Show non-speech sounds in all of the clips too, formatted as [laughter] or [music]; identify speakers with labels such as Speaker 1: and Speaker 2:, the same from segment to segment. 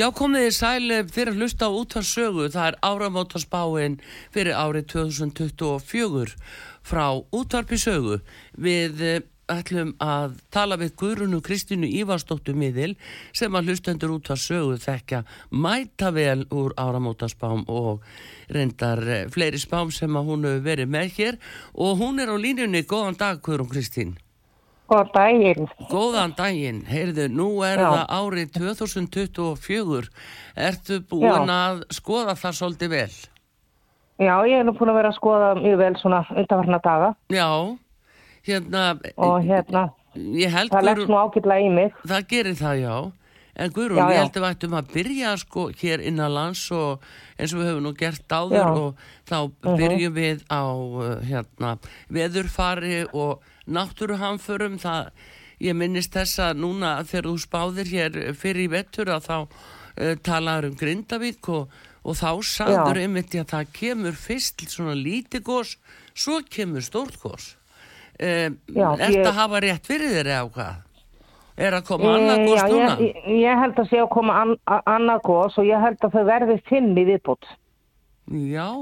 Speaker 1: Já, komið þið sæli fyrir að hlusta á útvarpssögu. Það er áramótarspáin fyrir árið 2024 frá útvarpissögu. Við eh, ætlum að tala við Guðrunu Kristínu Ívarsdóttur miðil sem að hlustendur útvarpssögu þekkja mæta vel úr áramótarspám og reyndar eh, fleiri spám sem að hún hefur verið með hér og hún er á línunni. Góðan dag, Guðrun Kristín.
Speaker 2: Góðan daginn.
Speaker 1: Góðan daginn, heyrðu, nú er
Speaker 2: Já.
Speaker 1: það árið 2024, ertu búin
Speaker 2: Já.
Speaker 1: að skoða það svolítið vel?
Speaker 2: Já, ég er nú búin að vera að skoða mjög vel svona undanfarna daga
Speaker 1: Já, hérna,
Speaker 2: og hérna,
Speaker 1: ég held
Speaker 2: það leggst
Speaker 1: Guðrún,
Speaker 2: nú ágætlega í mig.
Speaker 1: það gerir það já, en Guðrún,
Speaker 2: Já,
Speaker 1: ég
Speaker 2: já.
Speaker 1: held að við ættum að byrja sko hér innan lands og eins og við höfum nú gert áður
Speaker 2: Já. Mhm.
Speaker 1: og þá byrjum við á uh, hérna, veðurfari og náttúruhamförum, það, ég minnist þess að núna þegar þú spáðir hér fyrir í vettur að þá uh, talaður um Grindavík og, og þá sagður
Speaker 2: Já.
Speaker 1: einmitt að það kemur fyrst svona lítið gos, svo kemur stórt gos. Um,
Speaker 2: Já,
Speaker 1: er þetta
Speaker 2: ég-
Speaker 1: að hafa rétt fyrir þeir eða hvað? Er að koma annað
Speaker 2: Eh,
Speaker 1: góðs
Speaker 2: Já,
Speaker 1: núna?
Speaker 2: ég, ég- ég held að sé að koma an, a- annað gos og ég held að þau verði fimm í viðbútt.
Speaker 1: Já,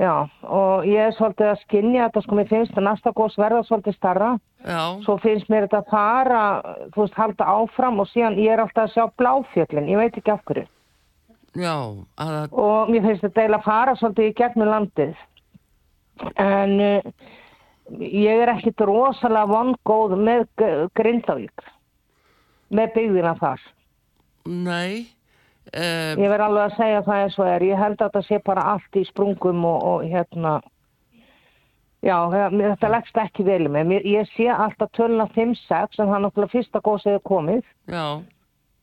Speaker 2: Já, og ég er svolítið að skinja þetta sko, mér finnst að næsta gos verða svolítið starra.
Speaker 1: já,
Speaker 2: Svo finnst mér þetta fara, þú veist, halda áfram og síðan ég er alltaf að sjá bláfjöllin, ég veit ekki af hverju.
Speaker 1: já, að, að-
Speaker 2: og mér finnst þetta eiginlega að fara svolítið í gegnum landið en uh, ég er ekkit rosalega vongóð með G- Grindavík með byggðina þar
Speaker 1: nei, uh,
Speaker 2: ég verð alveg að segja það eins og er ég held að þetta sé bara allt í sprungum og, og hérna já, eh, mér- þetta leggst ekki vel með mér, ég sé alltaf töluna 5-6 en það er náttúrulega fyrsta gósið er komið
Speaker 1: já,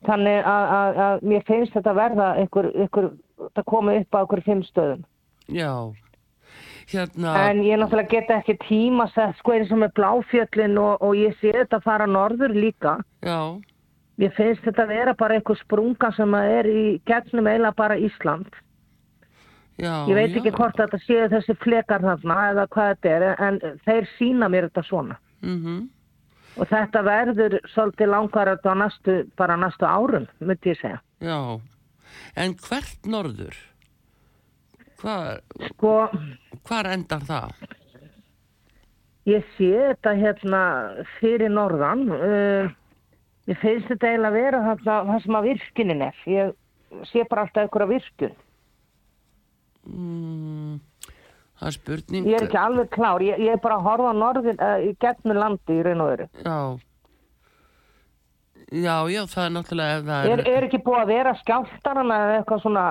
Speaker 2: þannig að, að, að mér finnst þetta verða einhver, einhver, þetta komið upp á einhverjum fimm stöðum
Speaker 1: já, hérna,
Speaker 2: En ég náttúrulega get ekki tíma sett sko eins og með bláfjöllin og, og ég sé þetta fara norður líka.
Speaker 1: já,
Speaker 2: Ég finnst þetta vera bara einhver sprunga sem að er í gegnum eiginlega bara Ísland.
Speaker 1: já.
Speaker 2: Ég veit
Speaker 1: já.
Speaker 2: ekki hvort þetta séu þessi flekar þarna eða hvað þetta er en þeir sína mér þetta svona.
Speaker 1: Mhm.
Speaker 2: Og þetta verður svolítið langar þetta á næstu, bara næstu árum, myndi ég segja.
Speaker 1: Já, en hvert norður? Hvar,
Speaker 2: Sko,
Speaker 1: hvar endar það?
Speaker 2: ég sé þetta hérna fyrir norðan. Uh, ég finnst þetta eiginlega vera þarna það sem að virkinin er. Ég sé bara alltaf einhverja virkun.
Speaker 1: Mm, það er spurning.
Speaker 2: Ég er ekki alveg klár, ég, ég er bara að horfa á norðin, uh, í gegnum landi í raun og öru.
Speaker 1: Já, já, já, það er náttúrulega ef það
Speaker 2: Er,
Speaker 1: er, Mm,
Speaker 2: er ekki búið að vera skjáltarana eða eitthvað svona,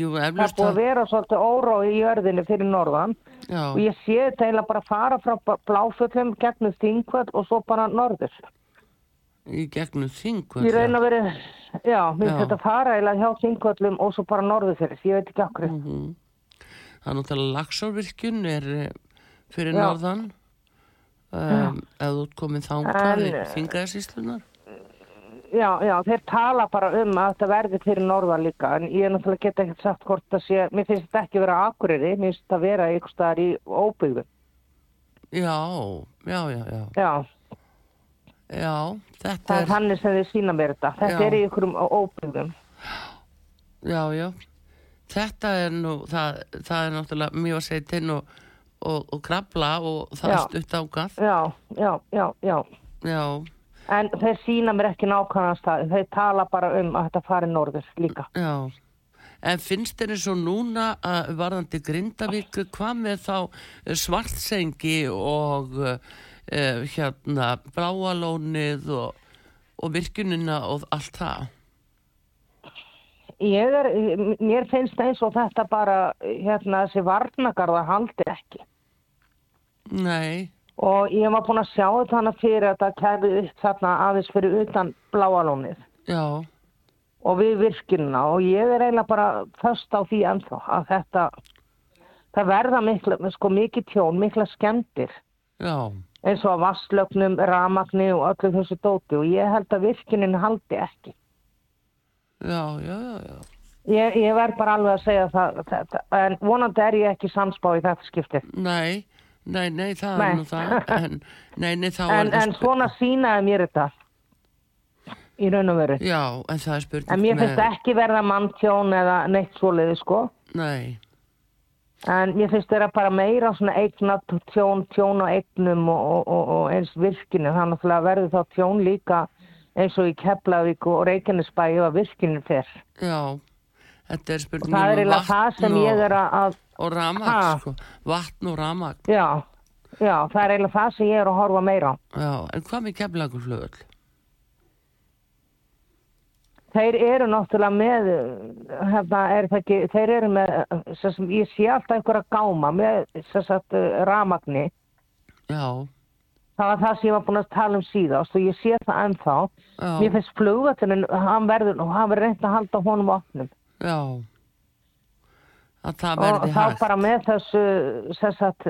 Speaker 1: jú,
Speaker 2: það er
Speaker 1: eflust
Speaker 2: búið
Speaker 1: það,
Speaker 2: að vera svolítið órói í örðinu fyrir norðan og
Speaker 1: já,
Speaker 2: ég sé þetta eiginlega bara fara frá Ba- bláfjöllum gegnum þingvöld og svo bara norður.
Speaker 1: í gegnum þingu.
Speaker 2: Ég raun og veru, já,
Speaker 1: Já.
Speaker 2: mér finnst þetta fara eiginlega hjá þingvöllum og svo bara norður fyrir, ég veit ekki okkur. Mm.
Speaker 1: Mhm. Það er náttúrulega lagsárvirkjun er eh, fyrir
Speaker 2: Já.
Speaker 1: norðan um, eða útkomið þangað
Speaker 2: En, eh,
Speaker 1: þingaðsíslunar
Speaker 2: Já, já, þeir tala bara um að þetta verði fyrir norðan líka en ég náttúrulega get ekki sagt hvort það sé, mér finnst þetta ekki vera akureyri, mér finnst þetta vera ykkur staðar í óbyggðum.
Speaker 1: Já, já, já, já
Speaker 2: Já,
Speaker 1: Já, þetta
Speaker 2: það er
Speaker 1: er,
Speaker 2: þannig sem þið sína mér þetta. Þetta
Speaker 1: Já.
Speaker 2: er í ykkurum óbyggðum.
Speaker 1: já, já Þetta er nú, það, það er náttúrulega mjög að segja tinn og, og, og krabla og það er
Speaker 2: Já.
Speaker 1: stutt ágað
Speaker 2: Já, já, já, já.
Speaker 1: Já,
Speaker 2: En þeir sína mér ekki nákvæmlega stað. Þeir tala bara um að þetta fari norður líka.
Speaker 1: já En finnst þér eins og núna að varðandi Grindavík, hvað með þá eh, Svartsengi og uh, hérna Bráalónið og, og virkunina og allt það?
Speaker 2: Ég er, mér finnst eins og þetta bara, hérna, þessi varnagarða haldi ekki.
Speaker 1: Nei,
Speaker 2: Og ég var búin að sjá þetta hana fyrir að þetta kæði upp þarna aðeins fyrir utan bláalónið
Speaker 1: já,
Speaker 2: og við virkinna og ég er eiginlega bara föst á því ennþá að þetta það verða mikla, sko, mikið tjón, mikla skemmtir
Speaker 1: já,
Speaker 2: eins og að vastlögnum, ramagni og öllu þessu dóti og ég held að virkinin haldi ekki.
Speaker 1: já, já, já, já.
Speaker 2: Ég, ég verð bara alveg að segja það, það, það en vonandi er ég ekki samspá í þetta skiptið.
Speaker 1: Nei, nei, nei, það
Speaker 2: Nei.
Speaker 1: er nú það en, Nei, nei, þá
Speaker 2: En,
Speaker 1: er það
Speaker 2: en
Speaker 1: sp-
Speaker 2: svona sínaði mér þetta í raun og veru.
Speaker 1: Já, en það er spurning
Speaker 2: En mér
Speaker 1: með-
Speaker 2: finnst ekki verða manntjón eða neitt svoleiði sko.
Speaker 1: Nei,
Speaker 2: En mér finnst þeirra bara meira svona eignat tjón, tjón og eignum og, og, og, og eins virkinu. Þannig að verður þá tjón líka eins og í Keflavík og Reykjanesbæ ef að virkinu fer.
Speaker 1: já Þetta er
Speaker 2: Og
Speaker 1: spurning
Speaker 2: það er
Speaker 1: um
Speaker 2: eiginlega það sem
Speaker 1: og,
Speaker 2: ég er að, að
Speaker 1: og ramak,
Speaker 2: Ha.
Speaker 1: sko Vatn og ramak,
Speaker 2: já, já, það er eiginlega það sem ég er að horfa meira á.
Speaker 1: já En hvað með keflagur flöðul?
Speaker 2: Þeir eru náttúrulega með, hérna, er það ekki, þeir eru með, sem, sem, ég sé alltaf einhverja gáma með sem sagt, ramagni.
Speaker 1: Já,
Speaker 2: Það var það sem ég var búin að tala um síðast og ég sé það ennþá. Mér
Speaker 1: já,
Speaker 2: finnst flugvöldin, hann verður, hann verður reynd að halda honum opnum.
Speaker 1: já Að það
Speaker 2: Og
Speaker 1: verði
Speaker 2: þá
Speaker 1: hægt
Speaker 2: bara með þessu, sem sagt,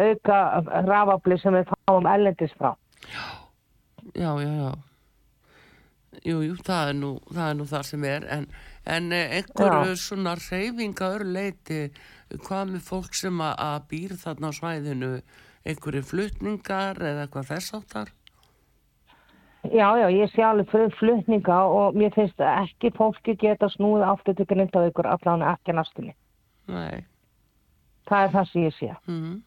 Speaker 2: auka rafabli sem við fáum ellendis frá.
Speaker 1: Já, já, já Jú, jú, það er nú það, er nú það sem er en, en eh, einhverju
Speaker 2: Já.
Speaker 1: svona reyfinga örleiti hvað með fólk sem að, að býr þarna á svæðinu einhverju flutningar eða eitthvað þess áttar
Speaker 2: Já, já, ég sé alveg fyrir flutninga og mér finnst ekki fólki geta snúið aftur til grindavíkur allan ekki á næstunni.
Speaker 1: Nei
Speaker 2: Það er það sem ég sé.
Speaker 1: mm.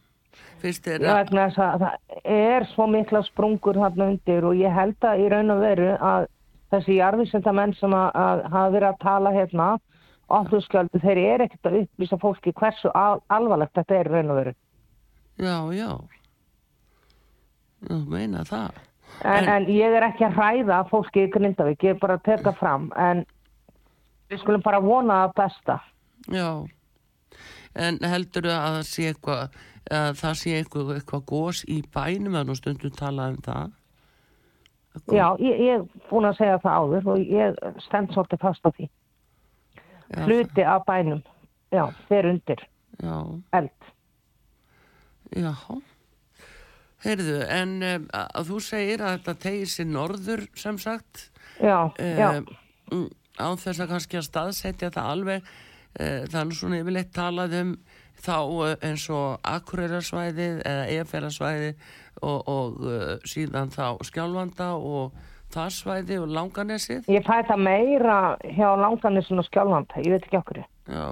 Speaker 1: Fyrst er
Speaker 2: Já, vegna þess að það er svo mikla sprungur þarna undir og ég held að í raun og veru að þessi jarðvísindamenn sem að, að hafa verið að tala hérna ofnurskjöldu, þeir eru ekkert að upplýsa fólki hversu al alvarlegt þetta er í raun og veru.
Speaker 1: Já, já Þú meina það
Speaker 2: En, en ég er ekki að hræða fólki í Grindavík, ég er bara að teka fram en við skulum bara vona að besta.
Speaker 1: Já En heldur þau að það sé eitthvað að það sé eitthvað, eitthvað gós í bænum en nú stundum talað um það
Speaker 2: Já, ég, ég er búin að segja það áður og ég stend svolítið fast á því.
Speaker 1: Já,
Speaker 2: Hluti af bænum, já, þeir undir,
Speaker 1: Já
Speaker 2: eld.
Speaker 1: Já, heyrðu, en um, að þú segir að þetta tegir sér norður sem sagt
Speaker 2: Já, já.
Speaker 1: um, á þess að kannski að staðsetja það alveg uh, þannig svona yfirleitt talað um þá eh, eins og Akureyrarsvæðið eða Eferasvæðið og, og uh, síðan þá Skjálfanda og það svæði og Langanesið
Speaker 2: Ég fæ það meira hjá langanisinn og skjálfanda, ég veit ekki okkur.
Speaker 1: Já,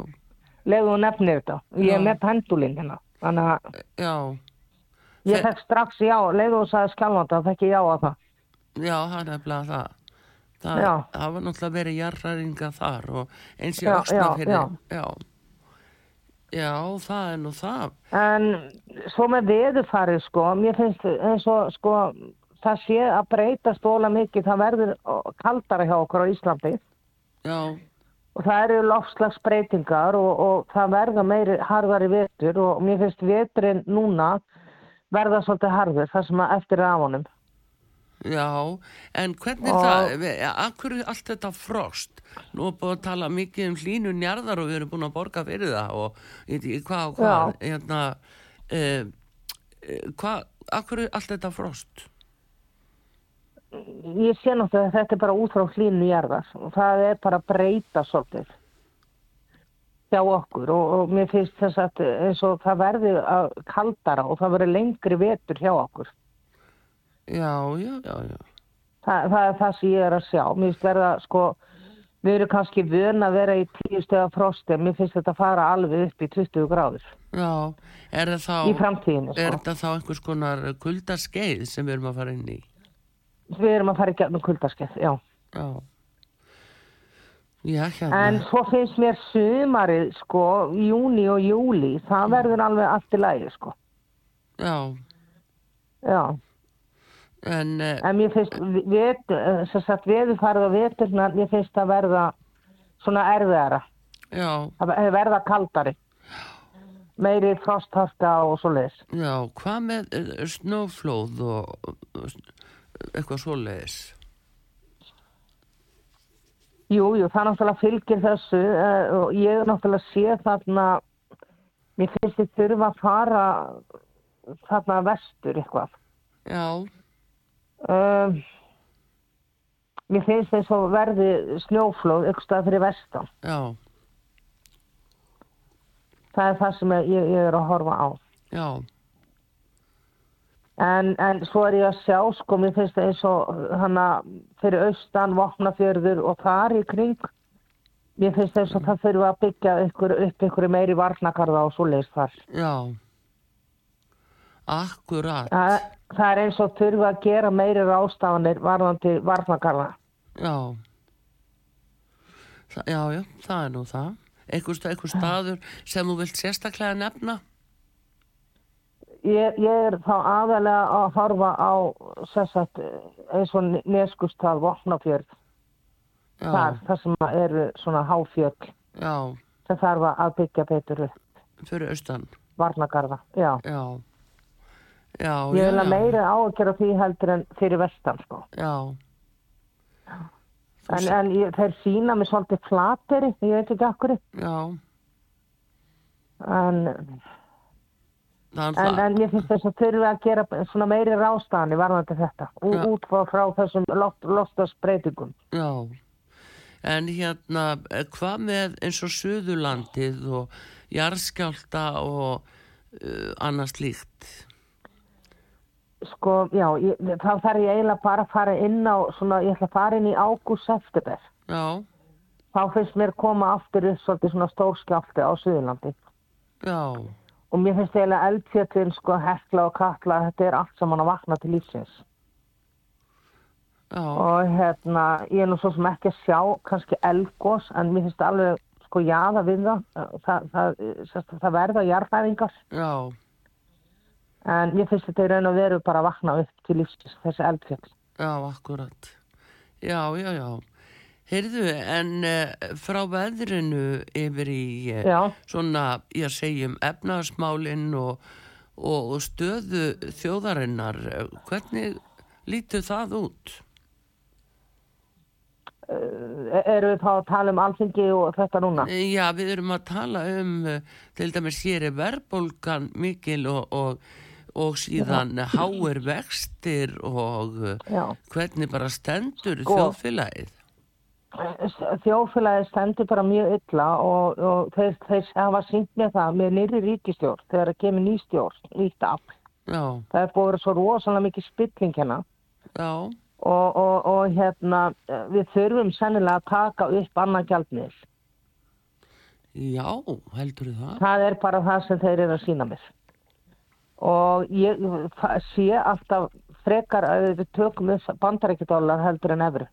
Speaker 2: Leðu og nefnir þetta. Ég er
Speaker 1: Já.
Speaker 2: með pendulinn hérna. Þannig að
Speaker 1: já,
Speaker 2: ég
Speaker 1: Þe-
Speaker 2: fekk strax já, leðu og sagði skjálfanda, það fekk ég já að það.
Speaker 1: já, það er nefnilega það Það
Speaker 2: Já.
Speaker 1: hafa náttúrulega verið jarraringa þar og eins
Speaker 2: Já,
Speaker 1: og östna fyrir
Speaker 2: já,
Speaker 1: já. já, það er nú það
Speaker 2: En svo með veðufarið sko, mér finnst eins og sko, það sé að breytast óla mikið, það verður ó, kaldara hjá okkur á Íslandi.
Speaker 1: Já,
Speaker 2: Og það eru loftslagsbreytingar og, og það verða meiri harðari vetur og mér finnst veturinn núna verða svolítið harður, það sem að eftir er af honum.
Speaker 1: já En hvernig
Speaker 2: Og-
Speaker 1: það, við- ja, akkur er allt þetta frost Nú er búið að tala mikið um hlínu njarðar og við erum búin að borga fyrir það og ég veit ekki hvað og hvað hérna, uh, hvað, akkur er allt þetta frost
Speaker 2: Ég sé náttúrulega að þetta er bara út frá hlínu jarðar og það er bara að breyta svolítið hjá okkur og, og mér finnst þess að eins og það verði að kaldara og það verði lengri vetur hjá okkur.
Speaker 1: Já, já, já, já
Speaker 2: Þa, það er það sem ég er að sjá. Mér finnst verða sko, við erum kannski vön að vera í tíu stöða frosti en mér finnst þetta að fara alveg upp í 20 gráður
Speaker 1: Já, er það þá
Speaker 2: í
Speaker 1: Er
Speaker 2: framtíðinu. Sko.
Speaker 1: þetta þá einhvers konar kuldaskeið sem við erum að fara inn í?
Speaker 2: Við erum að fara í gegnum kuldaskeið, já.
Speaker 1: Já. Já, hérna.
Speaker 2: En svo finnst mér sumarið sko, júni og júli, það verður alveg allt í lægi sko.
Speaker 1: Já,
Speaker 2: Já,
Speaker 1: en, eh,
Speaker 2: en mér finnst vet, eh, sem sagt, veðurfarið og veturnar mér finnst að verða svona erfiðara
Speaker 1: já,
Speaker 2: að ver- verða kaldari meiri frostharka og svo leiðis
Speaker 1: já, hvað með eh, snjóflóð og eh, eitthvað svoleiðis?
Speaker 2: Jú, jú, það náttúrulega fylgir þessu eh, og ég náttúrulega sé þarna mér finnst þið þurfa að fara þarna vestur eitthvað.
Speaker 1: Já,
Speaker 2: Um, mér finnst þess að verði snjóflóð ykkur stað fyrir vestan.
Speaker 1: já,
Speaker 2: Það er það sem ég, ég er að horfa á.
Speaker 1: já,
Speaker 2: En, en svo er ég að sjá, sko, mér finnst það eins og hana fyrir austan, vopnafjörður og þar í kring. Mér finnst það eins og það þurfa að byggja ykkur, upp ykkur meiri varnakarða og svo leist þar.
Speaker 1: já. Akkurat,
Speaker 2: Það, það er eins og þurfa að gera meiri rástafanir varðandi varnakarða.
Speaker 1: já. Þa, já, já, það er nú það. Einhver, sta- einhver staður sem þú vilt sérstaklega nefna?
Speaker 2: Ég, ég er þá aðalega að horfa á sessat, eins og neskustað vopnafjörð
Speaker 1: Já,
Speaker 2: þar, þar sem eru svona háfjöld
Speaker 1: já,
Speaker 2: sem þarf að byggja betur upp
Speaker 1: fyrir austan,
Speaker 2: varnakarða. Já.
Speaker 1: já. Já, já,
Speaker 2: Ég vil
Speaker 1: já,
Speaker 2: að meira ágjör á því heldur en fyrir vestan sko.
Speaker 1: já,
Speaker 2: En, en ég, þeir sína mig svolítið flateri, ég veit ekki akkur.
Speaker 1: já.
Speaker 2: En,
Speaker 1: Það er
Speaker 2: en,
Speaker 1: það,
Speaker 2: en ég finnst þess að þurfi að gera svona meiri rástani varðandi þetta. Ú,
Speaker 1: Já.
Speaker 2: út frá, frá þessum loft, loftasbreytingum.
Speaker 1: já. En hérna, eh, hvað með eins og Suðurlandið og jarðskjálta og uh, annars líkt?
Speaker 2: Sko, já, ég, þá þarf ég eiginlega bara að fara inn á, svona, ég ætla að fara inn í ágúst-september.
Speaker 1: Já,
Speaker 2: Þá finnst mér koma aftur upp svolítið svona stórskjálti á Suðurlandi.
Speaker 1: já,
Speaker 2: Og mér finnst eiginlega eldfjöldin, sko, hekla og katla, þetta er allt saman að vakna til lífsins.
Speaker 1: já,
Speaker 2: og hérna, ég er nú svo sem ekki að sjá kannski elgos, en mér finnst alveg sko jaða við það það, það, sérst, það verða jarðæringar
Speaker 1: já,
Speaker 2: en mér finnst þetta í raun og veru bara að vakna upp til lífsins þessi eldfjöld
Speaker 1: já, akkurat. Já, já, já. Heyrðu, en uh, frá veðrinu yfir í uh,
Speaker 2: Já.
Speaker 1: svona, ég segjum, efnaðsmálinn um og, og, og stöðu þjóðarinnar, eh, hvernig lítur það út?
Speaker 2: E- eru við þá að tala um alþingi og þetta núna
Speaker 1: Já, við erum að tala um eh, til dæmis hér er verðbólgan mikil og, og, og síðan háir vextir og eh,
Speaker 2: Já.
Speaker 1: hvernig bara stendur
Speaker 2: Sko.
Speaker 1: þjóðfélagið.
Speaker 2: þjófélagi stendur bara mjög illa og, og þeir, þeir hafa sínt með það með nýri ríkistjórn þegar að kemur nýstjórn, nýtt afl
Speaker 1: Já,
Speaker 2: það er búið að vera svo rosalega mikið spilling hérna
Speaker 1: já,
Speaker 2: og, og, og hérna, við þurfum sennilega að taka upp annan gjaldmiðl.
Speaker 1: já, heldur það?
Speaker 2: Það er bara það sem þeir eru að sína mér. Og ég það sé alltaf frekar að við tökum upp bandarækjadólar heldur en efru.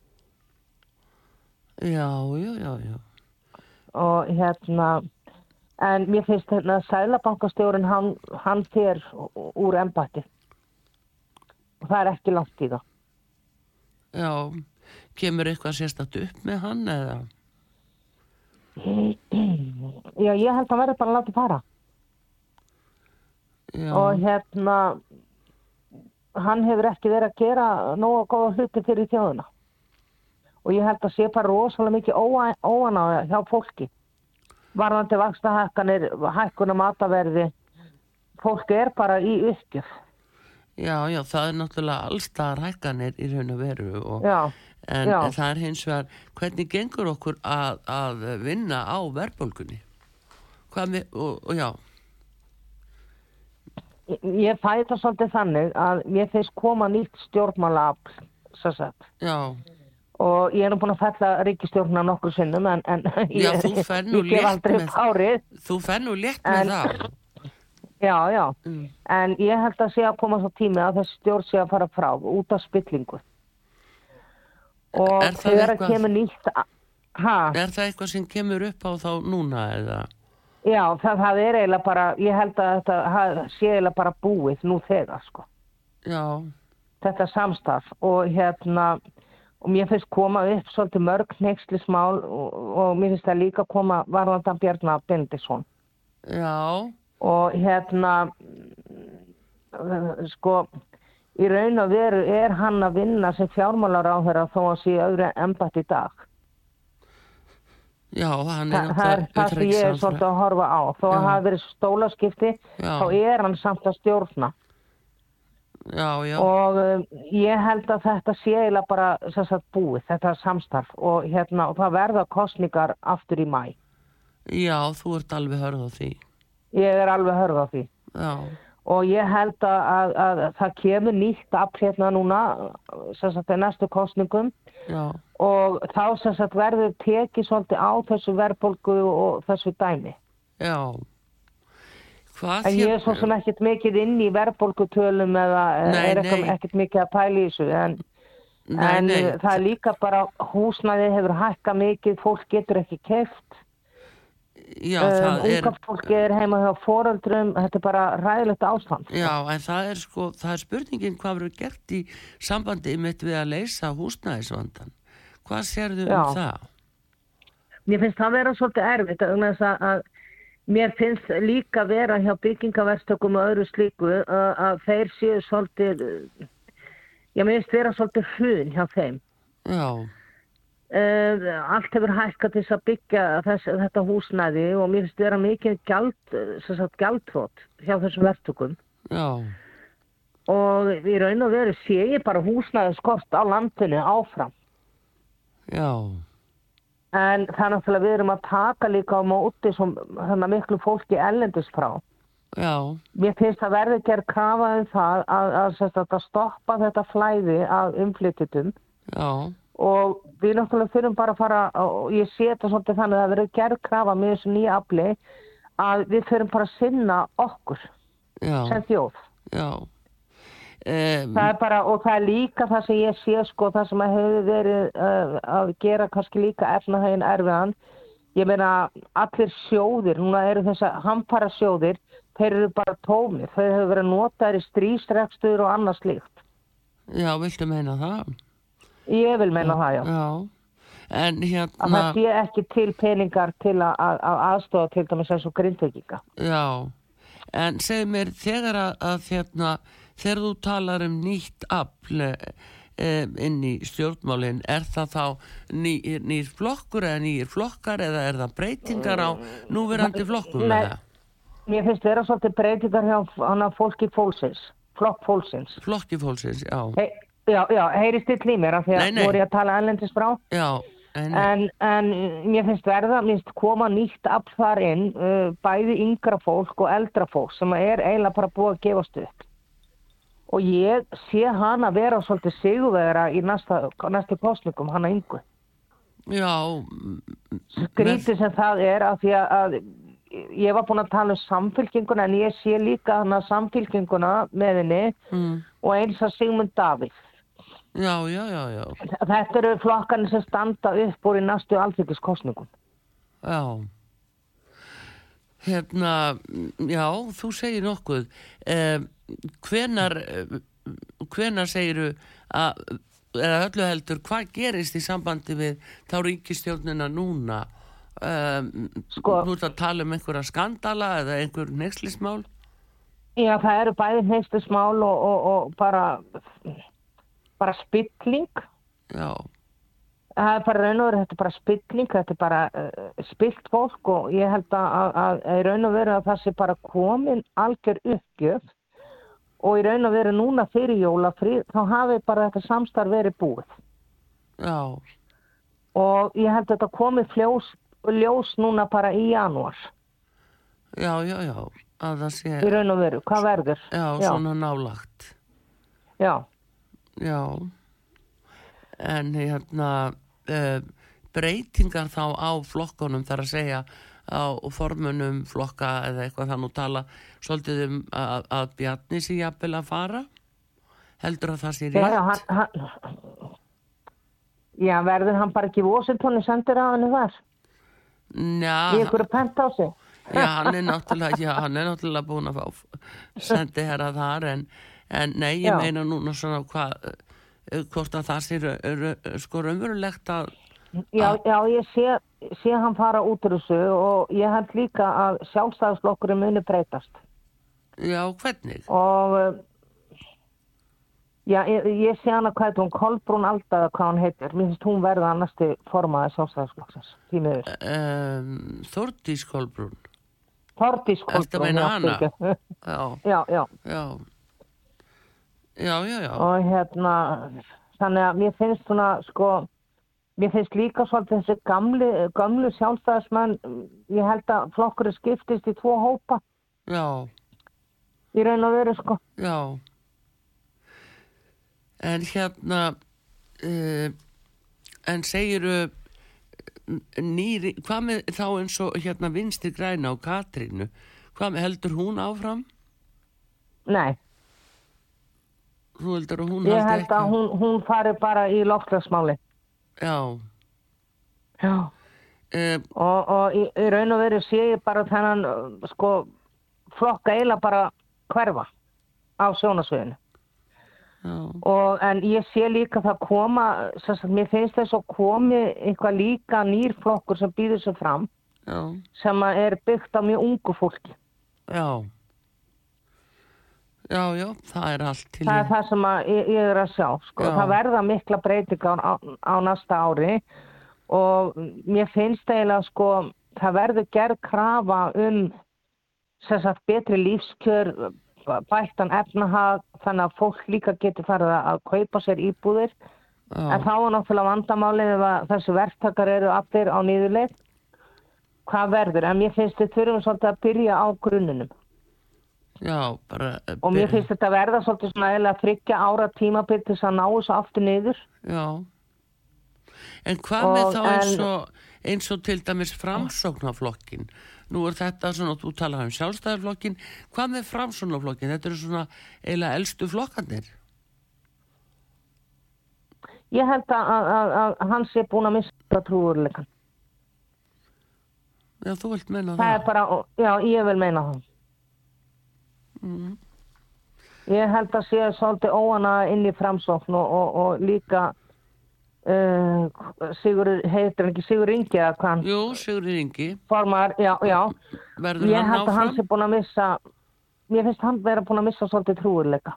Speaker 1: Já, já, já, já,
Speaker 2: Og hérna, en mér finnst hérna að sælabankastjórun hann, hann þér úr embætti. Og það er ekki langt í það.
Speaker 1: já. Kemur eitthvað sérstætt upp með hann eða?
Speaker 2: Já, ég held að verði bara að láta fara.
Speaker 1: Já,
Speaker 2: og hérna hann hefur ekki verið að gera nóga góða hluti fyrir þjóðuna og ég held að sé bara rosalega mikið óa- óanáða hjá fólki varðandi vakstahækkanir hækkunum mataverði fólk er bara í uppgjöf
Speaker 1: já, já, það er náttúrulega allstaðar hækkanir í raun og veru og...
Speaker 2: já,
Speaker 1: En
Speaker 2: Já.
Speaker 1: það er hins vegar, hvernig gengur okkur að, að vinna á verðbólgunni? Hvað með, og, og já,
Speaker 2: Ég- ég fæ þetta svolítið þannig að mér finnst koma nýtt stjórnmálaafl sem sagt.
Speaker 1: já,
Speaker 2: og ég er nú búin að fella ríkistjórnuna nokkur sinnum en, en
Speaker 1: Já,
Speaker 2: ég,
Speaker 1: þú ferð nú
Speaker 2: ég gef
Speaker 1: létt
Speaker 2: aldrei
Speaker 1: með-
Speaker 2: upp árið
Speaker 1: þú fer nú létt með
Speaker 2: En-
Speaker 1: það.
Speaker 2: Já, já,
Speaker 1: Mm.
Speaker 2: en ég held að sé að koma svo tími að þessi stjórn sé að fara frá út af spillingu. Og
Speaker 1: Er það
Speaker 2: þegar að
Speaker 1: eitthvað-
Speaker 2: kemur nýtt, a- ha,
Speaker 1: Er það eitthvað sem kemur upp á þá núna eða?
Speaker 2: já, það, það er eiginlega bara, ég held að þetta það sé eiginlega bara búið nú þegar, sko,
Speaker 1: Já,
Speaker 2: þetta samstarf og hérna, og mér finnst koma upp svolítið mörg neykslismál og, og mér finnst það líka koma varðandan Bjarnar Bendisson.
Speaker 1: já,
Speaker 2: og hérna mm, sko í raun og veru er hann að vinna sem fjármálar á þeirra þó að sé öðru embætt í dag
Speaker 1: Já, hann
Speaker 2: Þa,
Speaker 1: er
Speaker 2: það er það sem ég er svolítið
Speaker 1: utanríkisráðherra.
Speaker 2: að horfa á. Þó að
Speaker 1: Já.
Speaker 2: það hafi verið stólaskipti,
Speaker 1: Já.
Speaker 2: þá er hann samt að stjórna.
Speaker 1: Já, já,
Speaker 2: Og um, ég held að þetta sé eiginlega bara sem sagt, búið, þetta samstarf. Og, hérna, og það verða kostningar aftur í mæ.
Speaker 1: já, þú ert alveg hörð á því.
Speaker 2: Ég er alveg hörð á því.
Speaker 1: Já,
Speaker 2: Og ég held að, að, að það kemur nýtt afl hérna núna, sem sagt, í næstu kostningum.
Speaker 1: já,
Speaker 2: Og þá sem sagt, verður tekið svolítið á þessu verðbólgu og þessu dæmi.
Speaker 1: já. Hvað
Speaker 2: En ég er svo sem ekkert mikið inn í verðbólkutölum eða
Speaker 1: Nei,
Speaker 2: er eitthvað
Speaker 1: nei.
Speaker 2: ekkert mikið að pæla í þessu en,
Speaker 1: Nei,
Speaker 2: en
Speaker 1: nei,
Speaker 2: það er líka bara húsnæði hefur hækkað mikið, fólk getur ekki keft,
Speaker 1: já,
Speaker 2: um,
Speaker 1: það er...
Speaker 2: unga fólk er heima hjá foreldrum, þetta er bara ræðilegt ástand.
Speaker 1: Já, en það er sko, það er spurningin hvað verður gert í sambandi mitt við að leysa húsnæðisvandan. Hvað sérðu
Speaker 2: Já.
Speaker 1: um það?
Speaker 2: Mér finnst það vera svolítið erfitt vegna þess að, að mér finnst líka vera hjá byggingaverstökum og öðru slíku að, að þeir séu svolítið, uh, ég finnst vera svolítið hrun hjá þeim.
Speaker 1: Já,
Speaker 2: Uh, allt hefur hækkað til þess að byggja þess, þetta húsnæði og mér finnst vera mikið gjald, eh, sem sagt, gjaldþrótt hjá þessum verktökum
Speaker 1: já,
Speaker 2: og í raun og veru sé ég bara húsnæði skort á landinu áfram
Speaker 1: já,
Speaker 2: en það er náttúrulega við erum að taka líka á móti sem þannig miklu fólki ellendis frá
Speaker 1: já,
Speaker 2: mér finnst að verði gerð krafa um það að, að, að, að stoppa þetta flæði af umflytjutum
Speaker 1: já,
Speaker 2: og við náttúrulega þurfum bara að fara og ég sé þetta svolítið þannig að það verður gerð krafa með þessu nýja afli að við þurfum bara að sinna okkur
Speaker 1: já,
Speaker 2: sem þjóð.
Speaker 1: já. Um,
Speaker 2: Það er bara, og það er líka það sem ég sé sko, það sem að hefur verið uh, að gera kannski líka efnahægin erfiðan. Ég meina allir sjóðir, núna eru þess að hamfara sjóðir, þeir eru bara tómir, þeir hefur verið notaðir í strísrekstur og annað slíkt.
Speaker 1: já, viltu meina það?
Speaker 2: Ég vil meina það, já.
Speaker 1: Já, en
Speaker 2: að
Speaker 1: hérna,
Speaker 2: það sé ekki til peningar til að, að, að aðstofa til dæmis eins og grindvíkika.
Speaker 1: já, en segð mér þegar að, að hérna, þegar þú talar um nýtt afl e, inn í stjórnmálinn, er það þá ný, nýr flokkur eða nýr flokkar eða er það breytingar á núverandi flokkum
Speaker 2: Nei.
Speaker 1: eða
Speaker 2: Mér finnst vera svolítið breytingar hjá hana fólki fólksins, flokk fólksins.
Speaker 1: flokki fólksins, já,
Speaker 2: Hey, já, já, heyrist þitt í mér af því að
Speaker 1: Nei, nei.
Speaker 2: voru ég að tala ellendis frá.
Speaker 1: já, en,
Speaker 2: En, en mér finnst verða, mér finnst koma nýtt afl þar inn, uh, bæði yngra fólk og eldra fólk sem er eiginlega bara búið að gefast upp. Og ég sé hana vera svolítið sigurvera í næsta, næstu kostningum, hana yngu.
Speaker 1: já, mm,
Speaker 2: skrítið sem það er af því að, að ég var búin að tala um samfylkinguna en ég sé líka hana samfylkinguna með henni
Speaker 1: mm,
Speaker 2: og eins að Sigmund Davíð.
Speaker 1: já, já, já, já,
Speaker 2: Þetta eru flokkarnir sem standa upp úr í næstu alþyggiskostningum.
Speaker 1: Já. Hérna, mm, já, þú segir nokkuð. Eh, hvenar, eh, hvenar segiru að, eða öllu heldur, hvað gerist í sambandi við þá ríkistjórnina núna? Eh,
Speaker 2: Sko-
Speaker 1: Þú ert að tala um einhverja skandala eða einhver nexlismál?
Speaker 2: Já, það eru bæði neistismál og, og, og bara, bara spilling.
Speaker 1: Já,
Speaker 2: Það er bara raun og veru, þetta er bara spilling, þetta er bara uh, spilt fólk og ég held að, að, að, í raun og veru að það sé bara komin algjör uppgjöf og í raun og veru núna fyrir jólafrið þá hafi bara þetta samstarf verið búið
Speaker 1: já,
Speaker 2: og ég held að þetta komi fljós, ljós núna bara í janúar
Speaker 1: já, já, já, að það sé,
Speaker 2: í raun og veru, hvað verður?
Speaker 1: já,
Speaker 2: já,
Speaker 1: svona nálagt.
Speaker 2: já.
Speaker 1: Já, en hérna uh, breytingar þá á flokkunum þar að segja á formunum flokka eða eitthvað þannig að tala svolítið um að, að Bjarni sé jafnvel að fara heldur að það sé
Speaker 2: Já,
Speaker 1: rétt
Speaker 2: já, hann, hann, já, verður hann bara ekki vósintónu sendir á henni þar í
Speaker 1: já,
Speaker 2: ykkur pent á sig?
Speaker 1: já, hann er náttúrulega já, hann er náttúrulega búin að fá sendi herra þar en, en nei, ég
Speaker 2: Já.
Speaker 1: meina núna svona hvað eh, hvort að það sé ra- ra- sko raunverulegt að Ah.
Speaker 2: Já, já ég sé, sé hann fara út úr þessu og ég held líka að sjálfstæðisflokkurinn muni breytast
Speaker 1: já, hvernig
Speaker 2: og eh, Já, ég, ég sé hana hvað heitir hún, Kolbrún Aldaða hvað hún heitir. Mér finnst hún verða að næstu formaði sjálfstæðisflokksins, því miður.
Speaker 1: um, Þordís Kolbrún
Speaker 2: Þordís Kolbrún.
Speaker 1: Ertu að meina
Speaker 2: já,
Speaker 1: hana?
Speaker 2: fyrirgefðu. [laughs]
Speaker 1: Já,
Speaker 2: já, já.
Speaker 1: já Já, já, já
Speaker 2: Og hérna, þannig að mér finnst svona, sko, mér finnst líka svolítið þessi gamli, gamlu sjálfstæðismenn, ég held að flokkurinn skiptist í tvo hópa
Speaker 1: Já,
Speaker 2: í raun og veru, sko.
Speaker 1: já En hérna uh, En segiru nýri, hvað með þá eins og hérna vinstri græna á Katrínu hvað með heldur hún áfram?
Speaker 2: Nei,
Speaker 1: Þú heldur að hún
Speaker 2: ég
Speaker 1: haldi
Speaker 2: held
Speaker 1: ekki?
Speaker 2: að hún, hún fari bara í loftlagsmáli.
Speaker 1: Já,
Speaker 2: Já.
Speaker 1: uh,
Speaker 2: og, og í, í raun og veru sé ég bara þennan uh, sko flokka eiginlega bara hverfa á sjónasviðinu
Speaker 1: já,
Speaker 2: og en ég sé líka það koma sem sagt, mér finnst þess að komi eitthvað líka nýr flokkur sem býður sér fram
Speaker 1: já,
Speaker 2: sem að er byggt á mjög ungu fólki
Speaker 1: já Já, já, það er allt til
Speaker 2: það
Speaker 1: í-
Speaker 2: er það sem að ég, ég er að sjá sko.
Speaker 1: Já.
Speaker 2: það verða mikla breytingar á, á næsta ári og mér finnst eiginlega sko, það verður gerð krafa um sem sagt, betri lífskjör bættan efnahag þannig að fólk líka getur farið að- að kaupa sér íbúðir
Speaker 1: já,
Speaker 2: en þá er náttúrulega vandamálið ef að þessu verktakar eru allir á nýðuleik hvað verður, en mér finnst við þurfum svolítið að byrja á grunnunum
Speaker 1: já, bara eh,
Speaker 2: og mér
Speaker 1: be-
Speaker 2: finnst þetta verða svolítið svona eða þryggja ára tímabil til þess að ná þessu aftur niður
Speaker 1: Já En hvað með
Speaker 2: Og-
Speaker 1: þá eins
Speaker 2: en-
Speaker 1: og eins og til dæmis framsóknarflokkin Nú er þetta svona, þú talaði um sjálfstæðarflokkin Hvað með framsóknarflokkin? Þetta eru svona eiginlega elstu flokkanir
Speaker 2: ég held að, að, að, að hann sé búin að mista trúurleikan
Speaker 1: Já, þú vilt menna
Speaker 2: það
Speaker 1: það,
Speaker 2: er bara, já ég vil meina það
Speaker 1: Mhm.
Speaker 2: ég held að sé svolítið óana inn í framsókn og, og, og líka uh, Sigur heitir hann ekki Sigur Ingi eða hvað hann
Speaker 1: Jú, Sigurður Ingi
Speaker 2: formar, já, já
Speaker 1: Verður
Speaker 2: ég
Speaker 1: hann
Speaker 2: held að hann
Speaker 1: áfram
Speaker 2: sé búin að missa ég finnst hann vera búin að missa svolítið trúurleika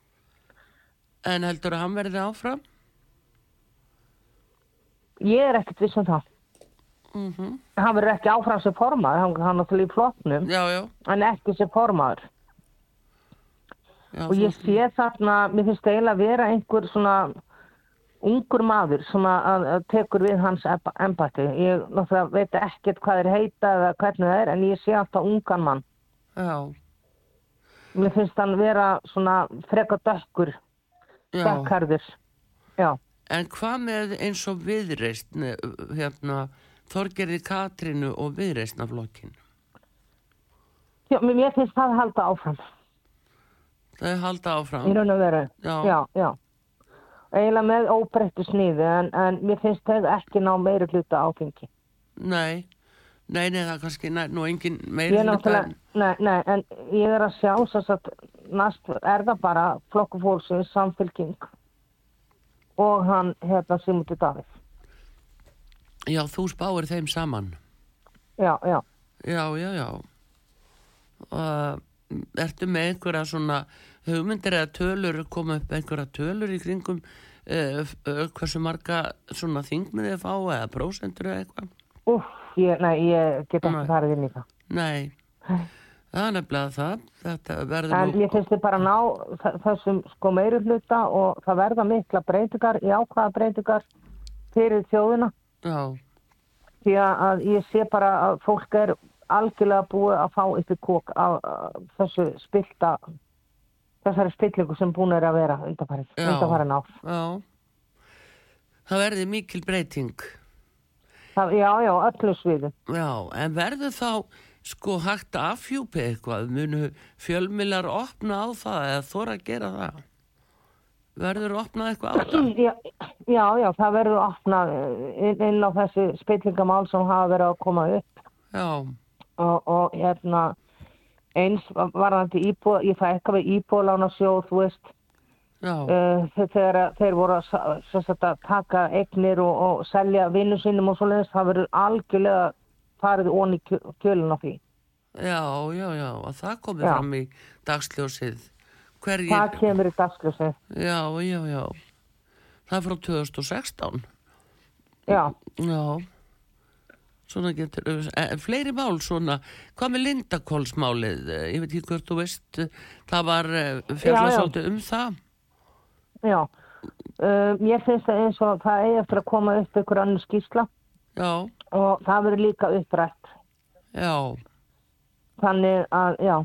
Speaker 1: En heldur að hann verði áfram
Speaker 2: ég er ekkert viss um það
Speaker 1: mm
Speaker 2: hann verður ekki áfram sem formaður, hann hann er náttúrulega í flokknum,
Speaker 1: Já, já,
Speaker 2: en ekki sem formaður.
Speaker 1: já
Speaker 2: Og ég sé þarna, mér finnst eiginlega að vera einhver svona ungur maður sem að, að, að tekur við hans emb- embætti. Ég náttúrulega veit ekkert hvað þeir heita eða hvernig það er, en ég sé alltaf ungan mann.
Speaker 1: Já,
Speaker 2: Mér finnst hann vera svona freka dökkur,
Speaker 1: já
Speaker 2: dökkarður. Já,
Speaker 1: En hvað með eins og viðreist hérna, Þorgerði Katrínu og viðreistnaflokkin
Speaker 2: Já mér mér finnst það halda áfram,
Speaker 1: Þau halda áfram
Speaker 2: í raun og veru. Já, já. Eiginlega með óbreyttu sniði, en, en mér finnst þau ekki ná meiri hluta áfengi.
Speaker 1: Nei, nei, nei, það er kannski nær, nú engin meiri
Speaker 2: Ég er
Speaker 1: hluta
Speaker 2: náttúrulega,
Speaker 1: en-
Speaker 2: nei, nei, en ég er að sjá þess að næst er það bara flokku fólksins samfylking og hann hérna Simundi Davíð.
Speaker 1: Já, þú spáir þeim saman
Speaker 2: Já, já.
Speaker 1: Já, já, já uh, Ertu með einhverja svona hugmyndir eða tölur koma upp einhverja tölur í kringum uh, uh, hversu marga svona þingmiði fá eða prósentur eða eitthvað
Speaker 2: Úf, ég, nei, ég get
Speaker 1: Nei.
Speaker 2: ekki farið inn í það.
Speaker 1: Nei, það er nefnilega það Þetta verður
Speaker 2: En
Speaker 1: nú Mm.
Speaker 2: ég finnst þið bara ná þ- þessum sko meiri hluta og það verða mikla breytingar, jákvæða breytingar fyrir þjóðina.
Speaker 1: Já,
Speaker 2: Því að að ég sé bara að fólk er algjörlega búið að fá upp í kók af af þessu spilta, þessari spillingu sem búin er að vera undanfærin,
Speaker 1: Já.
Speaker 2: undanfærin á.
Speaker 1: já Það verður mikil breyting
Speaker 2: Það, já, já, öllu sviðum.
Speaker 1: Já, en verður þá sko hægt að afhjúpi eitthvað? Munu fjölmilar opna á það eða þóra að gera það? Verður opnað eitthvað á það?
Speaker 2: Já, já, já, það verður opnað eh, inn, inn á þessi spillingamál sem hafa verið að koma upp
Speaker 1: Já,
Speaker 2: og, og hérna eins varðandi íbúð, ég fæ eitthvað við íbúðlána sjóð, þú veist,
Speaker 1: já,
Speaker 2: uh, þegar að þeir voru að, sa- sem sagt, að taka eignir og, og selja vinnu sínum og svo leiðist, það verður algjörlega farið onni kjölun á því.
Speaker 1: já, já, já, að það komi
Speaker 2: Já.
Speaker 1: fram í dagsljósið Hverjir?
Speaker 2: Hvað kemur í dagsljósið?
Speaker 1: Já, já, já. Það er frá 2016.
Speaker 2: Já,
Speaker 1: Já. Svona getur, eh, fleiri mál svona, hvað með Lindakólsmálið, Eh, ég veit ekki hvort þú veist, eh, það var
Speaker 2: Já, já.
Speaker 1: fjallarsáttu um það.
Speaker 2: já. Uh, ég finnst það eins og það eigi eftir að koma upp ykkur annars skýrsla
Speaker 1: Já,
Speaker 2: og það verður líka upprætt.
Speaker 1: já,
Speaker 2: Þannig að, já.